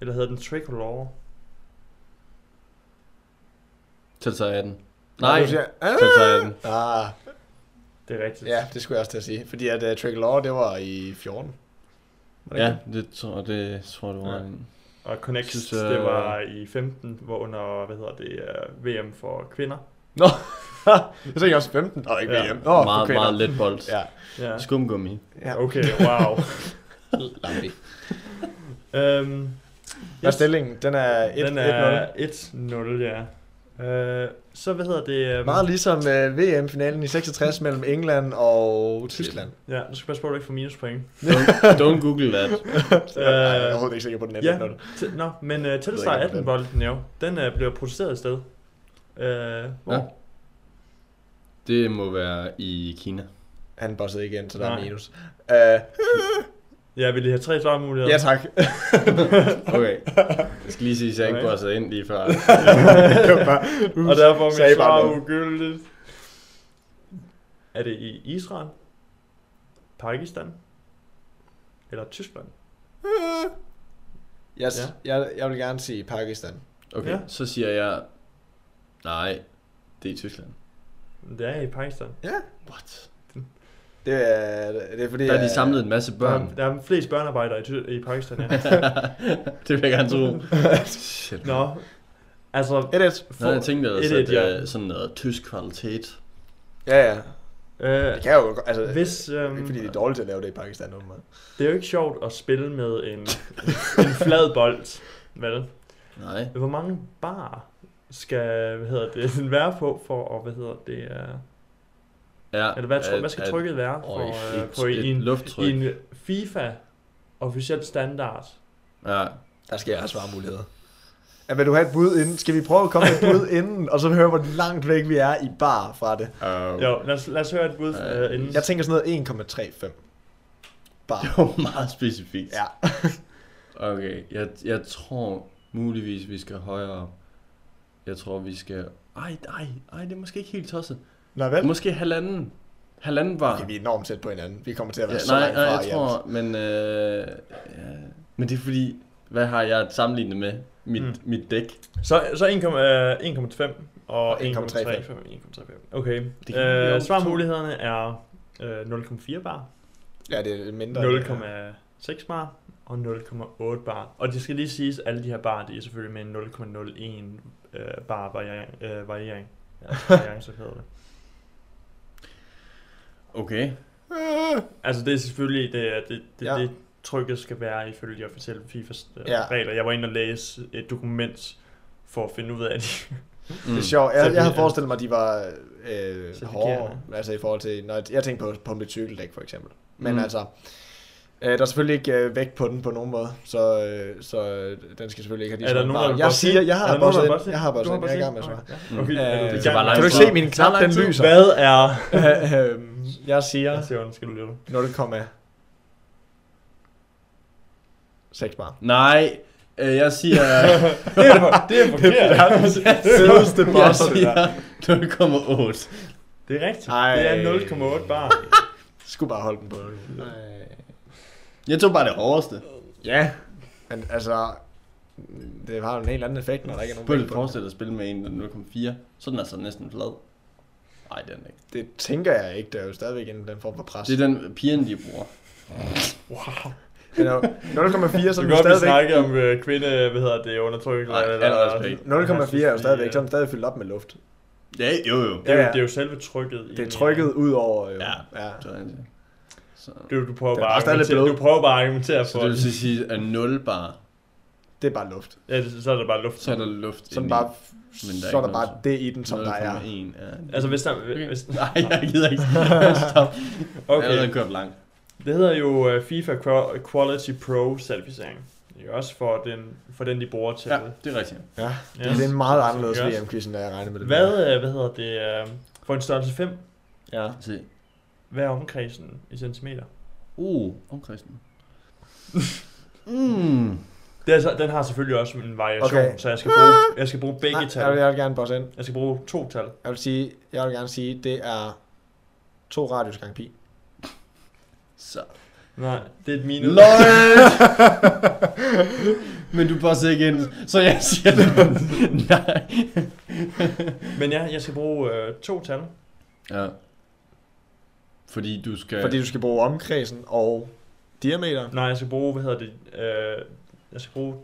A: Eller hedder den Tricolor?
H: Telstar 18.
B: Nå,
H: Nej,
B: du siger,
H: Telstar 18.
B: ah,
A: Det er rigtigt.
B: ja, det skulle jeg også til at sige. Fordi at uh, Trick Law, det var i 14. Var det
H: Ja,
B: ikke
H: det tror, det tror du var
B: Ja.
H: en.
A: Og Connect,
H: Synes,
A: Synes,
H: øh,
A: det var i 15, hvor under, hvad hedder det, øh, VM for kvinder.
B: Nå, jeg tænkte også 15. Nå, ikke
A: Ja.
B: VM. Nå,
H: meget,
B: okay,
H: meget
B: nå.
H: let bold.
B: Ja,
A: Ja.
H: Skumgummi.
B: ja.
A: Okay, wow.
B: Lambi.
A: øhm,
B: Hvad er stillingen? Den er 1
A: den er 1-0, ja. Øh, så hvad hedder det? øhm,
B: Meget ligesom øh, VM-finalen i 66 mellem England og Tyskland.
A: Ja, nu skal jeg passe på, at du ikke får minuspoint.
H: Don't- don't Google that.
A: Øh,
B: Nej, jeg er overhovedet ikke sikker på, den er
A: ja,
B: 18.
A: t- Nå, men uh, Telstar
B: ikke, om den-
A: 18-bolden jo, den uh, bliver produceret et sted. Uh, hvor?
H: Ja. Det må være i Kina.
B: Han bossede ikke ind, så der
A: Nej.
B: er minus. Øh,
A: Ja, vil I have tre svarmuligheder?
B: ja tak.
H: Okay. Jeg skal lige sige, at jeg ikke
A: Okay.
H: bossede ind lige før.
B: Det var bare,
A: Og derfor er
B: sagde
A: mit
B: bare
A: svar
B: noget.
A: ugyldigt. Er det i Israel? Pakistan? Eller Tyskland?
B: Jeg, jeg, jeg vil gerne sige Pakistan.
H: Okay,
A: Ja.
H: ja. så siger jeg... Nej, det er i Tyskland.
A: Det er i Pakistan.
B: Ja,
H: What?
B: det er, det er fordi... øh,
H: Der er de
B: jeg-
H: samlet en masse
A: Der
H: børn.
A: er, der er flest børnearbejdere i, Ty- i Pakistan, ja.
H: det vil jeg gerne tro. Shit.
A: Nå, altså...
B: 1-1.
H: Nå, jeg tænkte ellers,
A: et,
H: at
A: et, ja.
H: ja. sådan noget tysk kvalitet.
B: Ja, ja.
A: Øh,
B: Det kan jo... Altså,
A: hvis, øhm,
B: ikke fordi de er dårlige til at lave det i Pakistan, åbenbart.
A: det er jo ikke sjovt at spille med en, en flad bold, vel?
H: Nej.
A: Hvor mange bar skal, hvad hedder det, være på for, og hvad hedder det, uh,
H: Ja,
A: eller hvad, tryk,
H: at-
A: hvad skal
H: at-
A: trykket være
H: Øj,
A: for,
H: et-
A: uh, på
H: et
A: i en,
H: lufttryk.
A: i en FIFA officiel standard?
H: Ja.
B: Der skal jeg have svarmuligheder. Ja, vil du have et bud inden? Skal vi prøve at komme med et bud inden, og så høre, hvor langt væk vi er i bar fra det?
H: Uh,
A: Jo, lad os, lad os høre et bud
H: Øh,
A: uh, inden.
B: Jeg tænker sådan noget 1,35. Bar.
H: Det var meget specifikt.
B: Ja.
H: Okay, jeg, jeg tror muligvis, vi skal højere op. Jeg tror, vi skal... Ej, ej, ej, det er måske ikke helt tosset.
B: Nå vel?
H: Måske halvanden. Halvanden var...
B: Okay, vi er enormt tæt på hinanden. Vi kommer til at
H: Ja,
B: være så
H: nej,
B: langt
H: nej,
B: fra i
H: jeg
B: alt.
H: tror, men... Øh, ja. Men det er fordi, hvad har jeg at sammenligne med? Mit,
A: Mm.
H: mm. mit dæk.
A: Så, så 1,5 øh, 1,5 og
B: 1,35.
A: 1,35. 1,35. Okay.
H: Det kan vi
A: Øh,
H: jo.
A: svarmulighederne er øh, 0,4 bar,
B: Ja, det er mindre. end-
A: 0,6 bar og 0,8 bar. Og det skal lige siges, at alle de her bar, de er selvfølgelig med en 0,01 øh, bar variering. Øh, variering. Ja, variance hedder det.
H: Okay.
B: Øh.
A: Altså det er selvfølgelig det, det, det,
B: Ja.
A: ja. det trykket skal være ifølge de officielle FIFAs øh,
B: Ja.
A: ja. regler. Jeg var inde og læse et dokument for at finde ud af det.
H: Mm.
B: Det er sjovt. Jeg, jeg havde
A: Certifikat.
B: forestillet mig, at de var øh, hårdere.
A: Certifikerende.
B: Altså i forhold til... Når jeg, jeg tænkte på, på mit cykeldæk, for eksempel. Men
H: Mm.
B: altså... Øh, der er selvfølgelig ikke øh, vægt på den på nogen måde, så, øh, så øh, den skal selvfølgelig ikke have de
A: er der
B: små bar.
A: nogen, der vil
B: Jeg
A: bosse ind?
B: siger, jeg
A: Er
B: har
A: der nogen, der
B: bosset
A: vil
B: ind.
A: bosse ind?
B: Jeg har bosset
A: Du
B: ind. Jeg er i gang med at
A: bosset
B: svare.
A: ind? Okay. Okay.
B: Øh,
A: er du i
B: det
H: tager
A: gang?
H: bare
B: Kan du ikke
H: så-
B: se min
H: så
B: knap, den
H: lang tid.
B: lyser?
A: Hvad er...
B: Øhm, jeg siger
A: Jeg siger undskyld, Lille.
B: 0,6 bar.
H: Nej, øh, jeg siger...
A: Det er, for, det er forkert.
B: Fedeste
H: jeg
B: bosser, det der.
H: siger 0,8.
A: Det er rigtigt.
B: Ej.
A: Det er 0,8 bar.
B: Skulle bare holde den på.
H: Jeg tog bare det hårdeste.
B: Ja, men altså... Det har jo en helt anden effekt, når der ikke er nogen
H: Prøv lige
B: vægt på
H: at
B: den.
H: forestille dig at spille med en, der er 0,4. Så er den altså næsten flad. Nej, det er den ikke.
B: Det tænker jeg ikke. Der er jo stadigvæk en den form for pres.
H: Det er den pigen, de bruger.
B: Men jo, 0,4
A: Så
B: som jo
A: kan godt vi
B: stadigvæk...
A: snakke om øh, kvinde, hvad hedder det, undertrykkelse.
H: Ej,
A: eller-
H: al respekt.
B: 0,4 er jo stadigvæk, så er den stadig fyldt op med luft.
H: Ja, jo jo.
A: Det er, jo,
B: Ja, ja.
A: det er jo selve trykket. i
B: Det er
A: en-
B: trykket ud over... Jo.
H: Ja.
B: ja.
H: Så, er det- så,
A: Det er jo, du prøver
B: Den er
A: bare at
B: stadig lidt
A: argumentere,
B: blød.
A: du prøver bare at argumentere
H: så
A: for.
H: det vil så sige, at 0 bar,
B: Det er bare luft.
A: ja, det- så er det bare luft.
H: så er der luft
B: Så er,
H: inde
B: den
H: i.
B: bare,
H: Men der er
B: så er
H: ikke
B: der
H: noget,
B: bare det i den, som der er.
H: 0,1 er-
A: Altså hvis der... Hvis,
H: Nej, jeg gider ikke. Stop. Okay. Jeg har
A: okay,
H: allerede kørt langt.
A: det hedder jo øh, FIFA Qua- Quality Pro certificering. Det er også for den, for den, de bruger til.
H: Ja, det er rigtigt.
B: Ja.
A: Ja.
B: Det er en meget anderledes
A: Yes.
B: VM-quiz, end jeg regnede med det.
A: Hvad, øh, hvad hedder det, øh, for en størrelse 5,
B: Ja.
H: Se.
A: hvad er omkredsen i centimeter?
H: Uh, omkredsen. Mm.
A: Det er, altså- den har selvfølgelig også en variation,
B: Okay.
A: okay. så jeg skal bruge, jeg skal bruge begge
B: Nej,
A: tal.
B: jeg vil, jeg vil gerne bosse ind.
A: Jeg skal bruge to tal.
B: Jeg vil, sige, jeg vil gerne sige, det er to radius gange pi.
H: Så.
A: Nej, det er et minus.
H: LOL! Men du passer ikke ind, så jeg siger det. Nej.
A: Men ja, jeg skal bruge øh, to tal.
H: Ja. Fordi du skal...
B: Fordi du skal bruge omkredsen og diameter.
A: Nej, jeg skal bruge, hvad hedder det, øh, jeg skal bruge...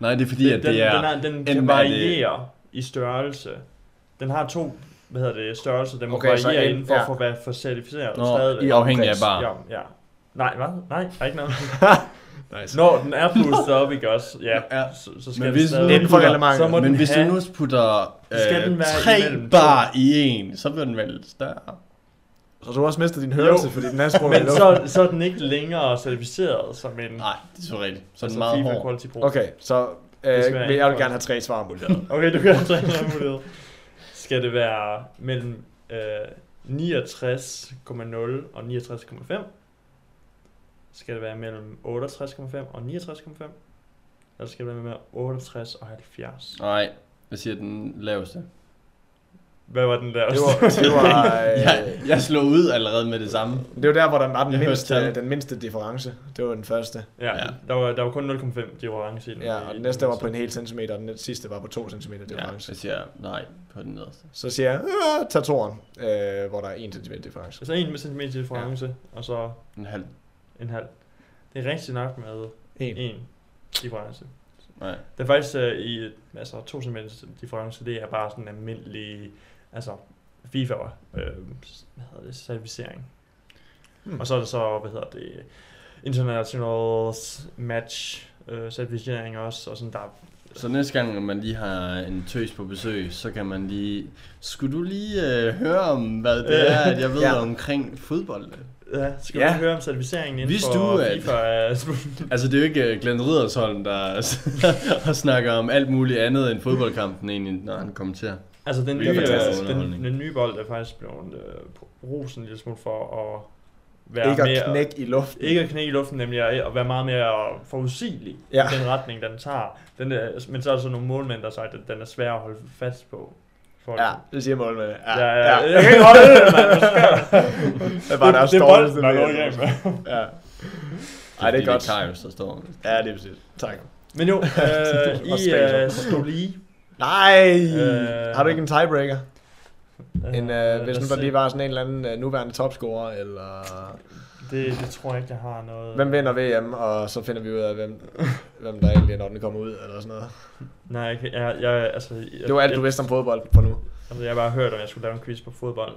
H: Nej, det er fordi, at
A: den,
H: det er...
A: den, er, den
H: enten
A: kan
H: er det-
A: variere det... i størrelse. Den har to, hvad hedder det, størrelser, den må
B: Okay,
A: okay,
B: så
A: variere
B: en-
A: inden for
B: ja.
A: at få hvad for certificeret
H: Nå,
A: stadigvæk.
H: i afhængig af
B: omkreds.
H: bar.
A: Ja, ja. Nej, hvad? Nej, der er ikke noget. Nice. Når den er pustet op, ikke også? Ja, ja. Så, så skal
H: men
A: den
H: hvis,
A: stadig-
H: nu putter,
A: så må
H: men
A: den
H: hvis
A: have-
H: du nu putter
A: Skal
H: øh,
A: den være
H: tre
A: imellem
H: bar i en, så bliver den vel lidt større.
B: Så du har også mistet din hørelse, fordi den er sprunget i
A: Men så,
B: luften.
A: så er den ikke længere certificeret som en... Nej,
H: det er så rigtigt.
A: Så altså meget FIFA Quality Pro.
B: Okay, så øh,
A: Det skal
B: jeg,
A: være
B: vil jeg
A: en-
B: vil gerne have tre svarmuligheder.
A: Okay, du kan altså have tre muligheder. Skal det være mellem øh, 69,0 og 69,5? Skal det være mellem 68,5 og 69,5? Eller skal det være mellem 68 og 70?
H: Nej, hvad siger den laveste?
A: Hvad var den laveste? øh,
H: jeg, jeg slog ud allerede med det samme.
B: øh, Det var der, hvor der var den,
H: Jeg hørte
B: mindste,
H: tal.
B: den mindste difference. Det var den første.
A: Ja, ja. Der, var, der var kun 0,5 de orange i den.
B: Ja, og den næste var på en hel centimeter, og den sidste var på to centimeter
H: Ja,
B: difference.
H: jeg siger nej på den nederste.
B: Så siger jeg, "Ah, tag toren, øh, hvor der er 1 centimeter difference.
A: Altså en med centimeter difference, ja. og så...
H: En halv.
A: En halv. Det er rigtigt nok med
B: en,
A: en difference.
H: Nej.
A: Det er faktisk øh, i altså, to centimeter difference, det er bare sådan en almindelig altså, FIFA, øh, hvad hedder det, certificering.
B: Hmm.
A: Hmm. Og så er det så, hvad hedder det, international match øh, certificering også, og sådan der er
H: Så næste gang, når man lige har en tøs på besøg, så kan man lige... Skulle du lige øh, høre om, hvad det er, at jeg ved
A: Ja.
H: ja. omkring fodbold?
A: Ja, skal ja. vi høre om certificeringen inden
H: Vidste
A: for
H: du, at...
A: FIFA? Er...
H: altså, det er jo ikke øh, Glenn Riddersholm, der og snakker om alt muligt andet end fodboldkampen, egentlig, når han kommenterer.
A: Altså den nye,
H: Hvilket er
A: øh, den,
H: underholdning.
A: den nye bold er faktisk blevet øh, rosen en lille smule for at være
B: Ikke at
A: mere,
B: knække i luften.
A: Ikke at knække i luften, nemlig at at være meget mere forudsigelig
B: Ja.
A: ja. i den retning, den tager. Den er, men så er der så nogle målmænd, der har sagt, at den er svær at holde fast på. For
B: Ja, det siger målmænd. Ja,
A: ja,
B: ja.
A: ja. Jeg kan ikke holde det, mand. Hvad sker der?
B: Det er bare deres
A: det er
B: dårligste
A: bolden, der er noget
B: led.
A: igennem.
B: Ja.
H: Ej, det er
B: godt.
H: Det er Karius, der står med.
B: Ja, det er præcis. Tak.
A: Men jo, øh,
B: Og
A: I
B: Spengler.
A: øh, stod lige.
B: Nej!
A: Øh,
B: har du ikke en tiebreaker? en, øh,
A: lad
B: hvis nu
A: os
B: der
A: se.
B: lige var sådan en eller anden øh, nuværende topscorer, eller...
A: Det, det tror jeg ikke, jeg har noget.
B: Hvem vinder VM, og så finder vi ud af, hvem, hvem der egentlig er, når den kommer ud, eller sådan noget.
A: Nej, jeg, kan- jeg, jeg altså... Jeg,
B: Det var alt, du vidste om fodbold på nu.
A: Altså, jeg har bare hørt, om jeg skulle lave en quiz på fodbold.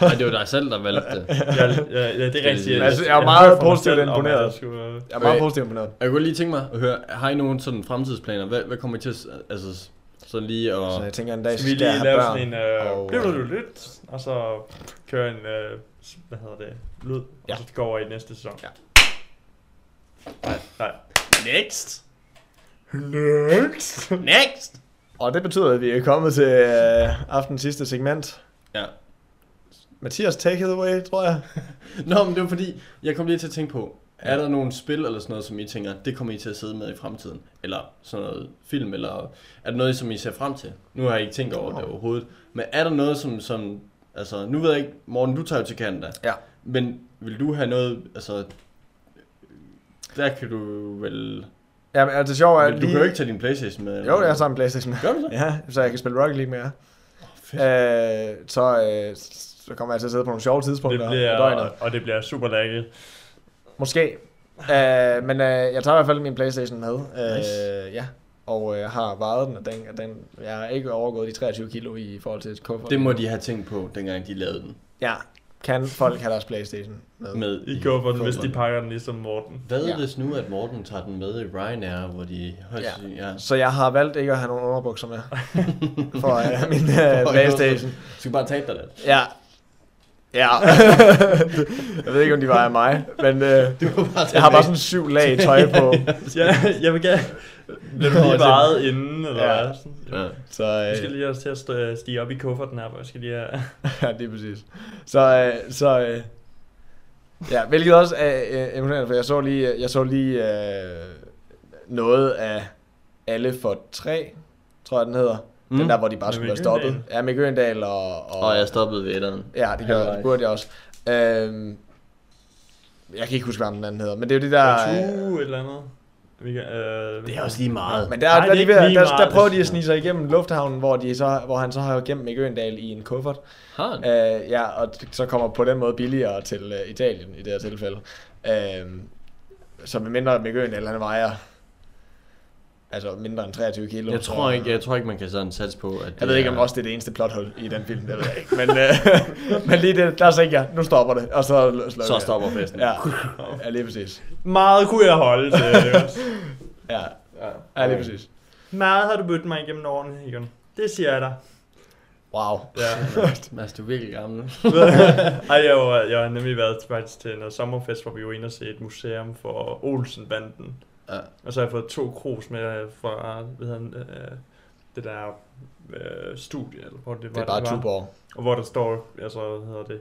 H: Nej, det var dig selv, der valgte det.
A: Ja, ja, ja, det er rigtigt.
B: Men altså, jeg er
A: jeg
B: meget
A: hører fra mig
B: positivt
A: selv om, at
B: imponeret.
A: jeg skulle, øh,
B: Jeg er meget positivt imponeret.
H: Jeg kunne lige tænke mig at høre, har I nogen sådan fremtidsplaner? Hvad, hvad kommer I til at... s- Altså, sådan lige og...
B: Så jeg tænker en dag,
A: Skal vi
B: jeg
A: lige
B: have
A: lave
B: børn,
A: sådan en... Øh,
B: og,
A: blev
B: øh,
A: du lidt? Og så køre en... Øh, s- hvad hedder det? Lyd. Ja. Og så går over i næste sæson. Ja. Nej, nej.
H: Next!
A: Next!
H: Next!
B: Og det betyder, at vi er kommet til øh, aftens sidste segment.
H: Ja.
B: Mathias, take it away, tror jeg.
H: Nå, men det var fordi, jeg kom lige til at tænke på, er der nogle spil eller sådan noget, som I tænker, det kommer I til at sidde med i fremtiden? Eller sådan noget film, eller er der noget, som I ser frem til? Nu har jeg ikke tænkt over det overhovedet. Men er der noget, som, som altså, nu ved jeg ikke, Morten, du tager jo til Canada.
B: Ja.
H: Men vil du have noget, altså, der kan du vel...
B: Ja, men altså, det sjove er
H: Men du
B: lige-
H: kan jo ikke tage din Playstation med. eller
B: Jo, jeg
H: noget.
B: har en Playstation.
H: Gør du så?
B: Ja, så jeg kan spille Rocket League med jer. Øh, så, øh, så kommer jeg til at sidde på nogle sjove tidspunkter.
A: Det
B: af
A: bliver,
B: døgnet.
A: og det bliver super lagget.
B: Måske. Øh, men øh, jeg tager i hvert fald min Playstation med. Øh,
H: Nice.
B: Ja. Og øh, jeg har vejet den, og den, og den, jeg har ikke overgået de 23 kilo i forhold til et kuffert.
H: Det må de have tænkt på, dengang de lavede den.
B: Ja, kan folk have deres Playstation med?
H: Med
A: I kufferten, hvis de pakker den ligesom Morten.
H: Hvad
B: Ja.
H: ja. hvis nu, at Morten tager den med i Ryanair, hvor de højst
B: Ja.
H: ja.
B: Så jeg har valgt ikke at have nogen underbukser med for at have min
H: For at
B: uh,
H: gå-
B: Playstation.
H: Du skal bare tabe dig lidt.
B: Ja. Ja. jeg ved ikke, om de var af mig, men uh, jeg har bare sådan syv lag tøj på.
A: ja, jeg vil gerne... Bliver du lige vejet inden, eller
B: Ja.
A: hvad? Sådan-
H: Ja.
B: Så,
A: Jeg
B: øh,
A: skal lige også til at stå- stige op i kufferten her, hvor jeg skal lige have...
B: Ja, det er præcis. Så, øh, så øh, ja, hvilket også er øh, imponerende, for jeg så lige, jeg så lige øh, noget af Alle for 3, tror jeg den hedder. Mm. Den
H: Mm.
B: der, hvor de bare
H: Med
B: skulle være
H: Mikke
B: stoppet.
H: Øgendahl.
B: Ja, Mikke Øgendal og, og...
H: Og jeg stoppede ved etteren.
B: Ja, det gjorde jeg, det burde jeg også. Øhm, jeg kan ikke huske, hvad den anden hedder, men det er jo det der... øh,
A: Tue, et eller andet. Vi kan, øh,
H: Det er også lige meget.
B: Men der,
A: Nej,
B: der,
A: det er
B: de
A: ikke
B: ved, der,
A: lige
B: der,
A: meget.
B: der prøver de at snige sig igennem lufthavnen, hvor, de så, hvor han så har gemt Mikke Øgendal i en kuffert.
H: Har han?
B: Øh, ja, og t- så kommer på den måde billigere til øh, Italien i det her tilfælde. Øh, så med mindre Mikke Øgendal, han vejer altså mindre end 23 kilo.
H: Jeg
B: så-
H: tror ikke, jeg tror ikke man kan sådan satse på, at
B: Jeg ved ikke, om også det er det eneste plothul i den film, det ved jeg ikke. Men, øh, men lige det, der tænkte jeg, nu stopper det, og så slukker
H: Så
B: jeg.
H: stopper festen.
B: Ja, ja lige præcis.
A: Meget kunne jeg holde til, ikke også?
B: Ja, ja lige præcis.
A: Meget har du mødt mig igennem årene, Egon. Det siger jeg dig.
B: Wow.
A: Ja.
H: Mads, altså, du er virkelig gammel.
A: Ej, jeg, var, jeg har nemlig været faktisk til noget sommerfest, hvor vi var inde og se et museum for Olsen-banden.
H: Ja.
A: Og så har jeg fået to krus med fra hvad hedder, den, øh, det der øh, studie, eller hvor det,
B: Det
A: hvor
B: er bare
A: det var.
B: Tuborg.
A: Og hvor der står, altså, hvad hedder det,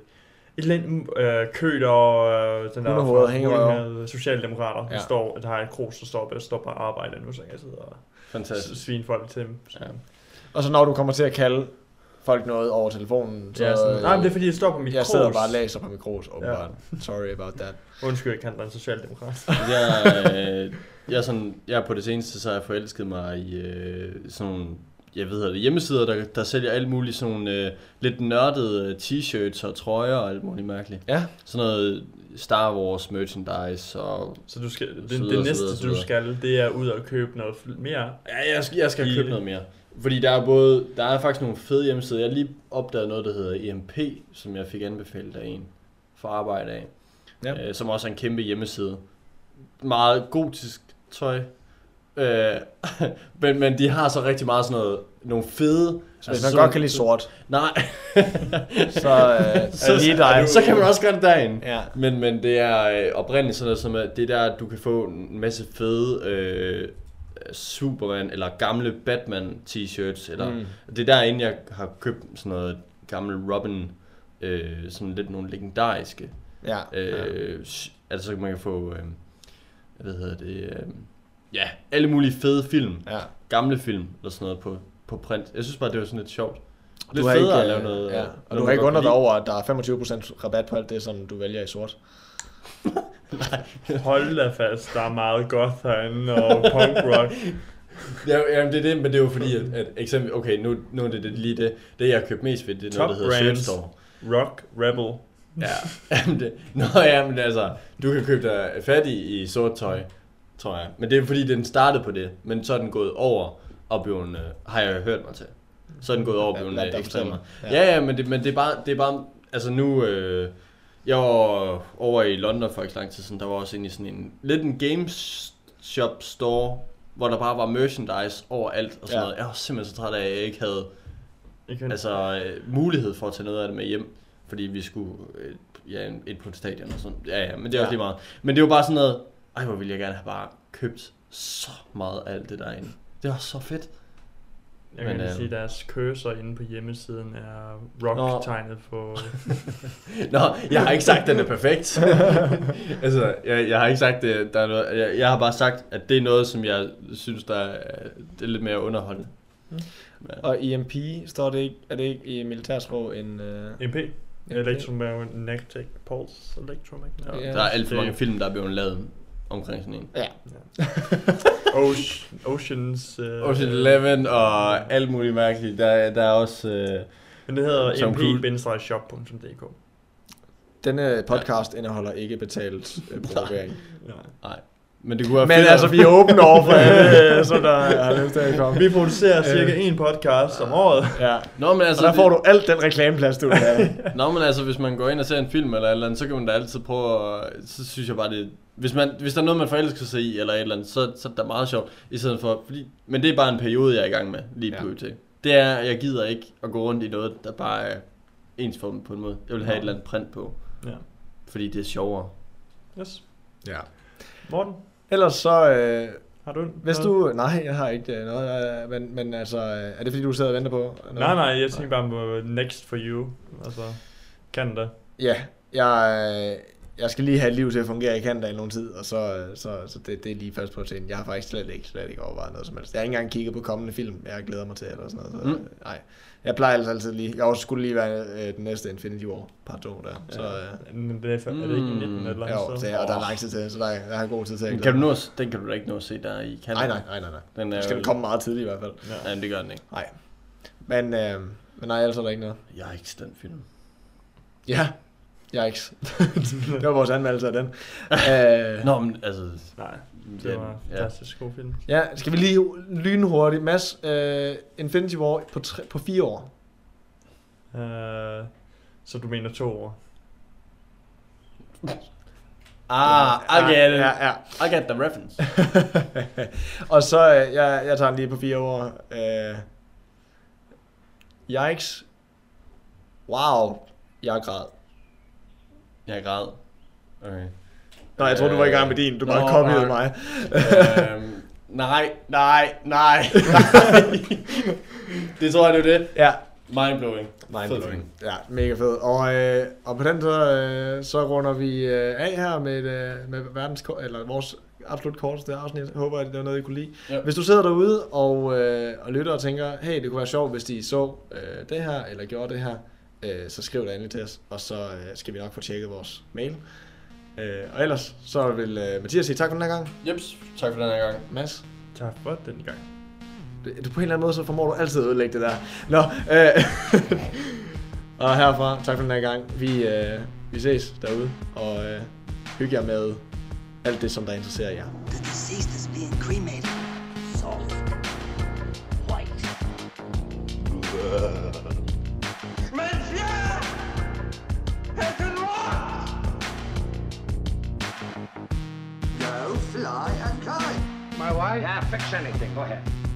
A: et eller andet øh, kød og øh, den der
B: Hundehoveder
A: fra-
B: hænger over.
A: med socialdemokrater, ja.
B: Ja.
A: der, står, der har en krus, der står, der står bare og arbejder nu, så jeg sidder og
H: Fantastisk.
A: svine folk til dem.
H: Ja.
B: Og så når du kommer til at kalde folk noget over telefonen, så...
A: Ja, sådan, nej, men det er fordi, jeg står på mit
B: øh, jeg sidder
A: krus.
B: bare og læser på mit krus, åbenbart. Sorry about that.
A: Undskyld, jeg kan dig en socialdemokrat.
H: Jeg, øh, jeg, er sådan, jeg er på det seneste, så har jeg forelsket mig i øh, sådan nogle, jeg ved hvad det, hjemmesider, der, der sælger alt muligt sådan nogle, øh, lidt nørdede øh, t-shirts og trøjer og alt muligt mærkeligt.
B: Ja.
H: Sådan noget Star Wars merchandise og
A: Så du skal, det,
H: Så
A: det, det
H: videre, så videre,
A: næste,
H: så
A: du
H: videre.
A: skal, det er ud og købe noget fl- mere.
H: Ja, jeg skal, jeg skal
A: I-
H: købe noget mere. Fordi der er både, der er faktisk nogle fede hjemmesider. Jeg har lige opdaget noget, der hedder EMP, som jeg fik anbefalet af en for arbejde af.
B: Ja.
H: Ja. Øh, som også er en kæmpe hjemmeside. Meget gotisk tøj. Øh, men, men de har så rigtig meget sådan noget, nogle fede... altså,
B: Så hvis man godt kan lide sort,
H: Nej,
B: så øh, så, er det lige dig.
H: så kan man også gøre det derinde.
B: Ja.
H: Men, men det er øh, oprindeligt sådan noget som, at det der, du kan få en masse fede øh, Superman eller gamle Batman t-shirts. Eller, mm. Det er derinde, jeg har købt sådan noget gammel Robin, øh, sådan lidt nogle legendariske.
B: Ja.
H: Øh, s- Altså man kan få, øh, hvad hedder det, øh, ja, alle mulige fede film,
B: Ja.
H: gamle film eller sådan noget på, på print. Jeg synes bare, det var sådan lidt sjovt.
B: Du
H: Lidt
B: har
H: federe
B: ikke, øh,
H: at lave noget. øh,
B: ja.
H: noget,
B: Og du
H: man
B: har ikke
H: godt
B: undret dig
H: kan lide.
B: over, at der er 25% rabat på alt det, som du vælger i sort.
A: Hold da fast, der er meget goth herinde og punk rock.
H: Ja, jamen, det er det, men det er jo fordi, at, at eksempel, okay, nu, nu er det, det lige det, det jeg har købt mest ved, det er
A: Top
H: noget, der hedder
A: brands.
H: Search Store.
A: Rock, rebel.
H: Ja, jamen det, nå ja, men altså, du kan købe dig fat i, i sort tøj, tror jeg. Men det er fordi, den startede på det, men så er den gået over og blevet, øh, har jeg hørt mig til. Så er den gået over og
B: Ja,
H: blevet
B: blandt
H: øh,
B: dem selv.
H: ekstremer.
B: Ja.
H: Ja, ja, men det, men det er bare, det er bare altså nu, øh, jeg var over i London for ikke så lang tid siden, der var også inde i sådan en, lidt en games shop store, hvor der bare var merchandise overalt og
B: Ja.
H: sådan ja. noget. Jeg var simpelthen så træt af, at jeg ikke havde
A: Ikke altså,
H: altså, øh, mulighed for at tage noget af det med hjem, fordi vi skulle øh, ja, en- ind på et stadion og sådan. Ja, ja, men det er også
B: Ja.
H: lige meget. Men det var bare sådan noget, ej, hvor ville jeg gerne have bare købt så meget af alt det derinde. Det var så fedt.
A: jeg kan
H: men,
A: men,
H: øh,
A: sige, at deres cursor inde på hjemmesiden er
H: Nå.
A: rock-tegnet på...
H: Nå, jeg har ikke sagt, at den er perfekt. altså, jeg, jeg har ikke sagt, at der er noget, jeg, jeg har bare sagt, at det er noget, som jeg synes, der er, det er lidt mere underholdende.
B: Og EMP, står det ikke, er det ikke i militærsprog en... Øh,
A: MP. Electromagnetic Pulse. Electromagnetic.
B: Ja.
H: Der er alt for
A: det-
H: mange film, der er blevet lavet omkring sådan en.
A: Oce- Oceans... Øh,
H: Ocean Eleven og alt muligt mærkeligt. Der, der er også... Øh,
A: Men det hedder
H: Tom Cruise.
A: mp-shop.dk.
B: denne podcast indeholder ikke betalt øh, promovering.
A: Ja.
H: men det kunne være
B: Men
H: fedt at-
B: altså, vi er åbne over for alle, øh, som der har lyst til at komme.
A: Vi producerer cirka en podcast om året.
B: Ja.
H: Nå, men
B: Og
H: altså,
B: der får du alt den reklameplads, du vil have.
H: det, nå, men altså, hvis man går ind og ser en film eller et eller andet, så kan man da altid prøve at, så synes jeg bare, det, hvis, man, hvis der er noget, man forelsker sig i eller et eller andet, så, så er det da meget sjovt, i stedet for, fordi, men det er bare en periode, jeg er i gang med lige
B: Ja.
H: ja. til. Det er, jeg gider ikke at gå rundt i noget, der bare er ens for mig på en måde. Jeg vil have et eller andet print på,
A: Ja.
H: fordi det er sjovere.
A: Yes.
B: Ja.
A: Morten,
B: Ellers så, øh,
A: har du
B: hvis
A: noget?
B: du... Nej, jeg har ikke øh, noget, øh, men, men altså, øh, er det fordi, du sidder og venter på noget?
A: Nej, nej, jeg tænkte bare på Next for You. Altså, Canada.
B: Ja, jeg, øh, jeg skal lige have et liv til at fungere i Canada i nogen tid, og så, øh, så, så det, det er lige først på scenen. Jeg har faktisk slet ikke, slet ikke overvejet noget som helst. Jeg har ikke engang kigget på kommende film, jeg glæder mig til, eller sådan noget. Så,
H: Mm.
B: mm. nej. Jeg plejer altså altid lige... Jeg også skulle lige være øh, den næste Infinity War, part 2 der. Så, øh,
A: Men det er, fa- er det ikke i 19 eller andet
B: jo,
A: sted?
B: så, og der er lang tid til, så der, er- jeg har god tid til at
H: Men
B: glæde
H: kan
B: mig.
H: du nå, at- den kan du da ikke nå øh, at se der i Canada.
B: Nej, nej, nej, nej. nej.
H: Den er
B: Den skal
H: jo-
B: vel komme meget tidligt i hvert fald.
H: Ja, men det gør den ikke.
B: Nej. Men, øh, men nej, ellers er der ikke noget.
H: Jeg er ikke den film.
B: Ja. Yikes. det var vores anmeldelse af den. Øh,
H: Nå, men altså...
A: Nej, det
H: den-
A: var en fantastisk god film.
B: Ja, skal vi lige lynhurtigt. Mads, øh, Infinity War på, tre, på fire år.
A: Øh, så du mener to år?
H: Ah, I get it.
B: Ja, ja.
H: I get the reference.
B: Og så, øh, jeg, jeg tager den lige på fire år. Øh, yikes. Wow. Jeg græd.
H: Jeg græd. Okay.
B: Nej, jeg tror, du var i gang med din. Du bare copyede mig.
H: øhm, nej, nej, nej, nej. det tror jeg, det er det.
B: Ja.
H: Mindblowing.
B: Mindblowing. Ja, mega fed. Og, øh, og på den så, øh, så runder vi øh, af her med, et, øh, med verdens, ko- eller vores absolut korteste afsnit. Jeg håber, at det var noget, I kunne lide.
H: Ja.
B: Hvis du sidder derude og, øh, og lytter og tænker, hey, det kunne være sjovt, hvis de så øh, det her, eller gjorde det her, øh, så skriv det endelig til os, og så øh, skal vi nok få tjekket vores mail. Øh, og ellers, så vil øh, Mathias sige tak for den her gang.
H: Jeps, tak for den her gang.
B: Mads,
A: Tak for den gang.
B: du, du på en eller anden måde, så formår du altid at ødelægge det der. Nå, øh, og herfra, tak for den her gang. Vi, øh, vi ses derude, og øh, hygge jer med alt det, som der interesserer jer.
E: The deceased is being cremated. Salt. White.
I: Go fly and kite. My wife? Yeah, fix anything. Go ahead.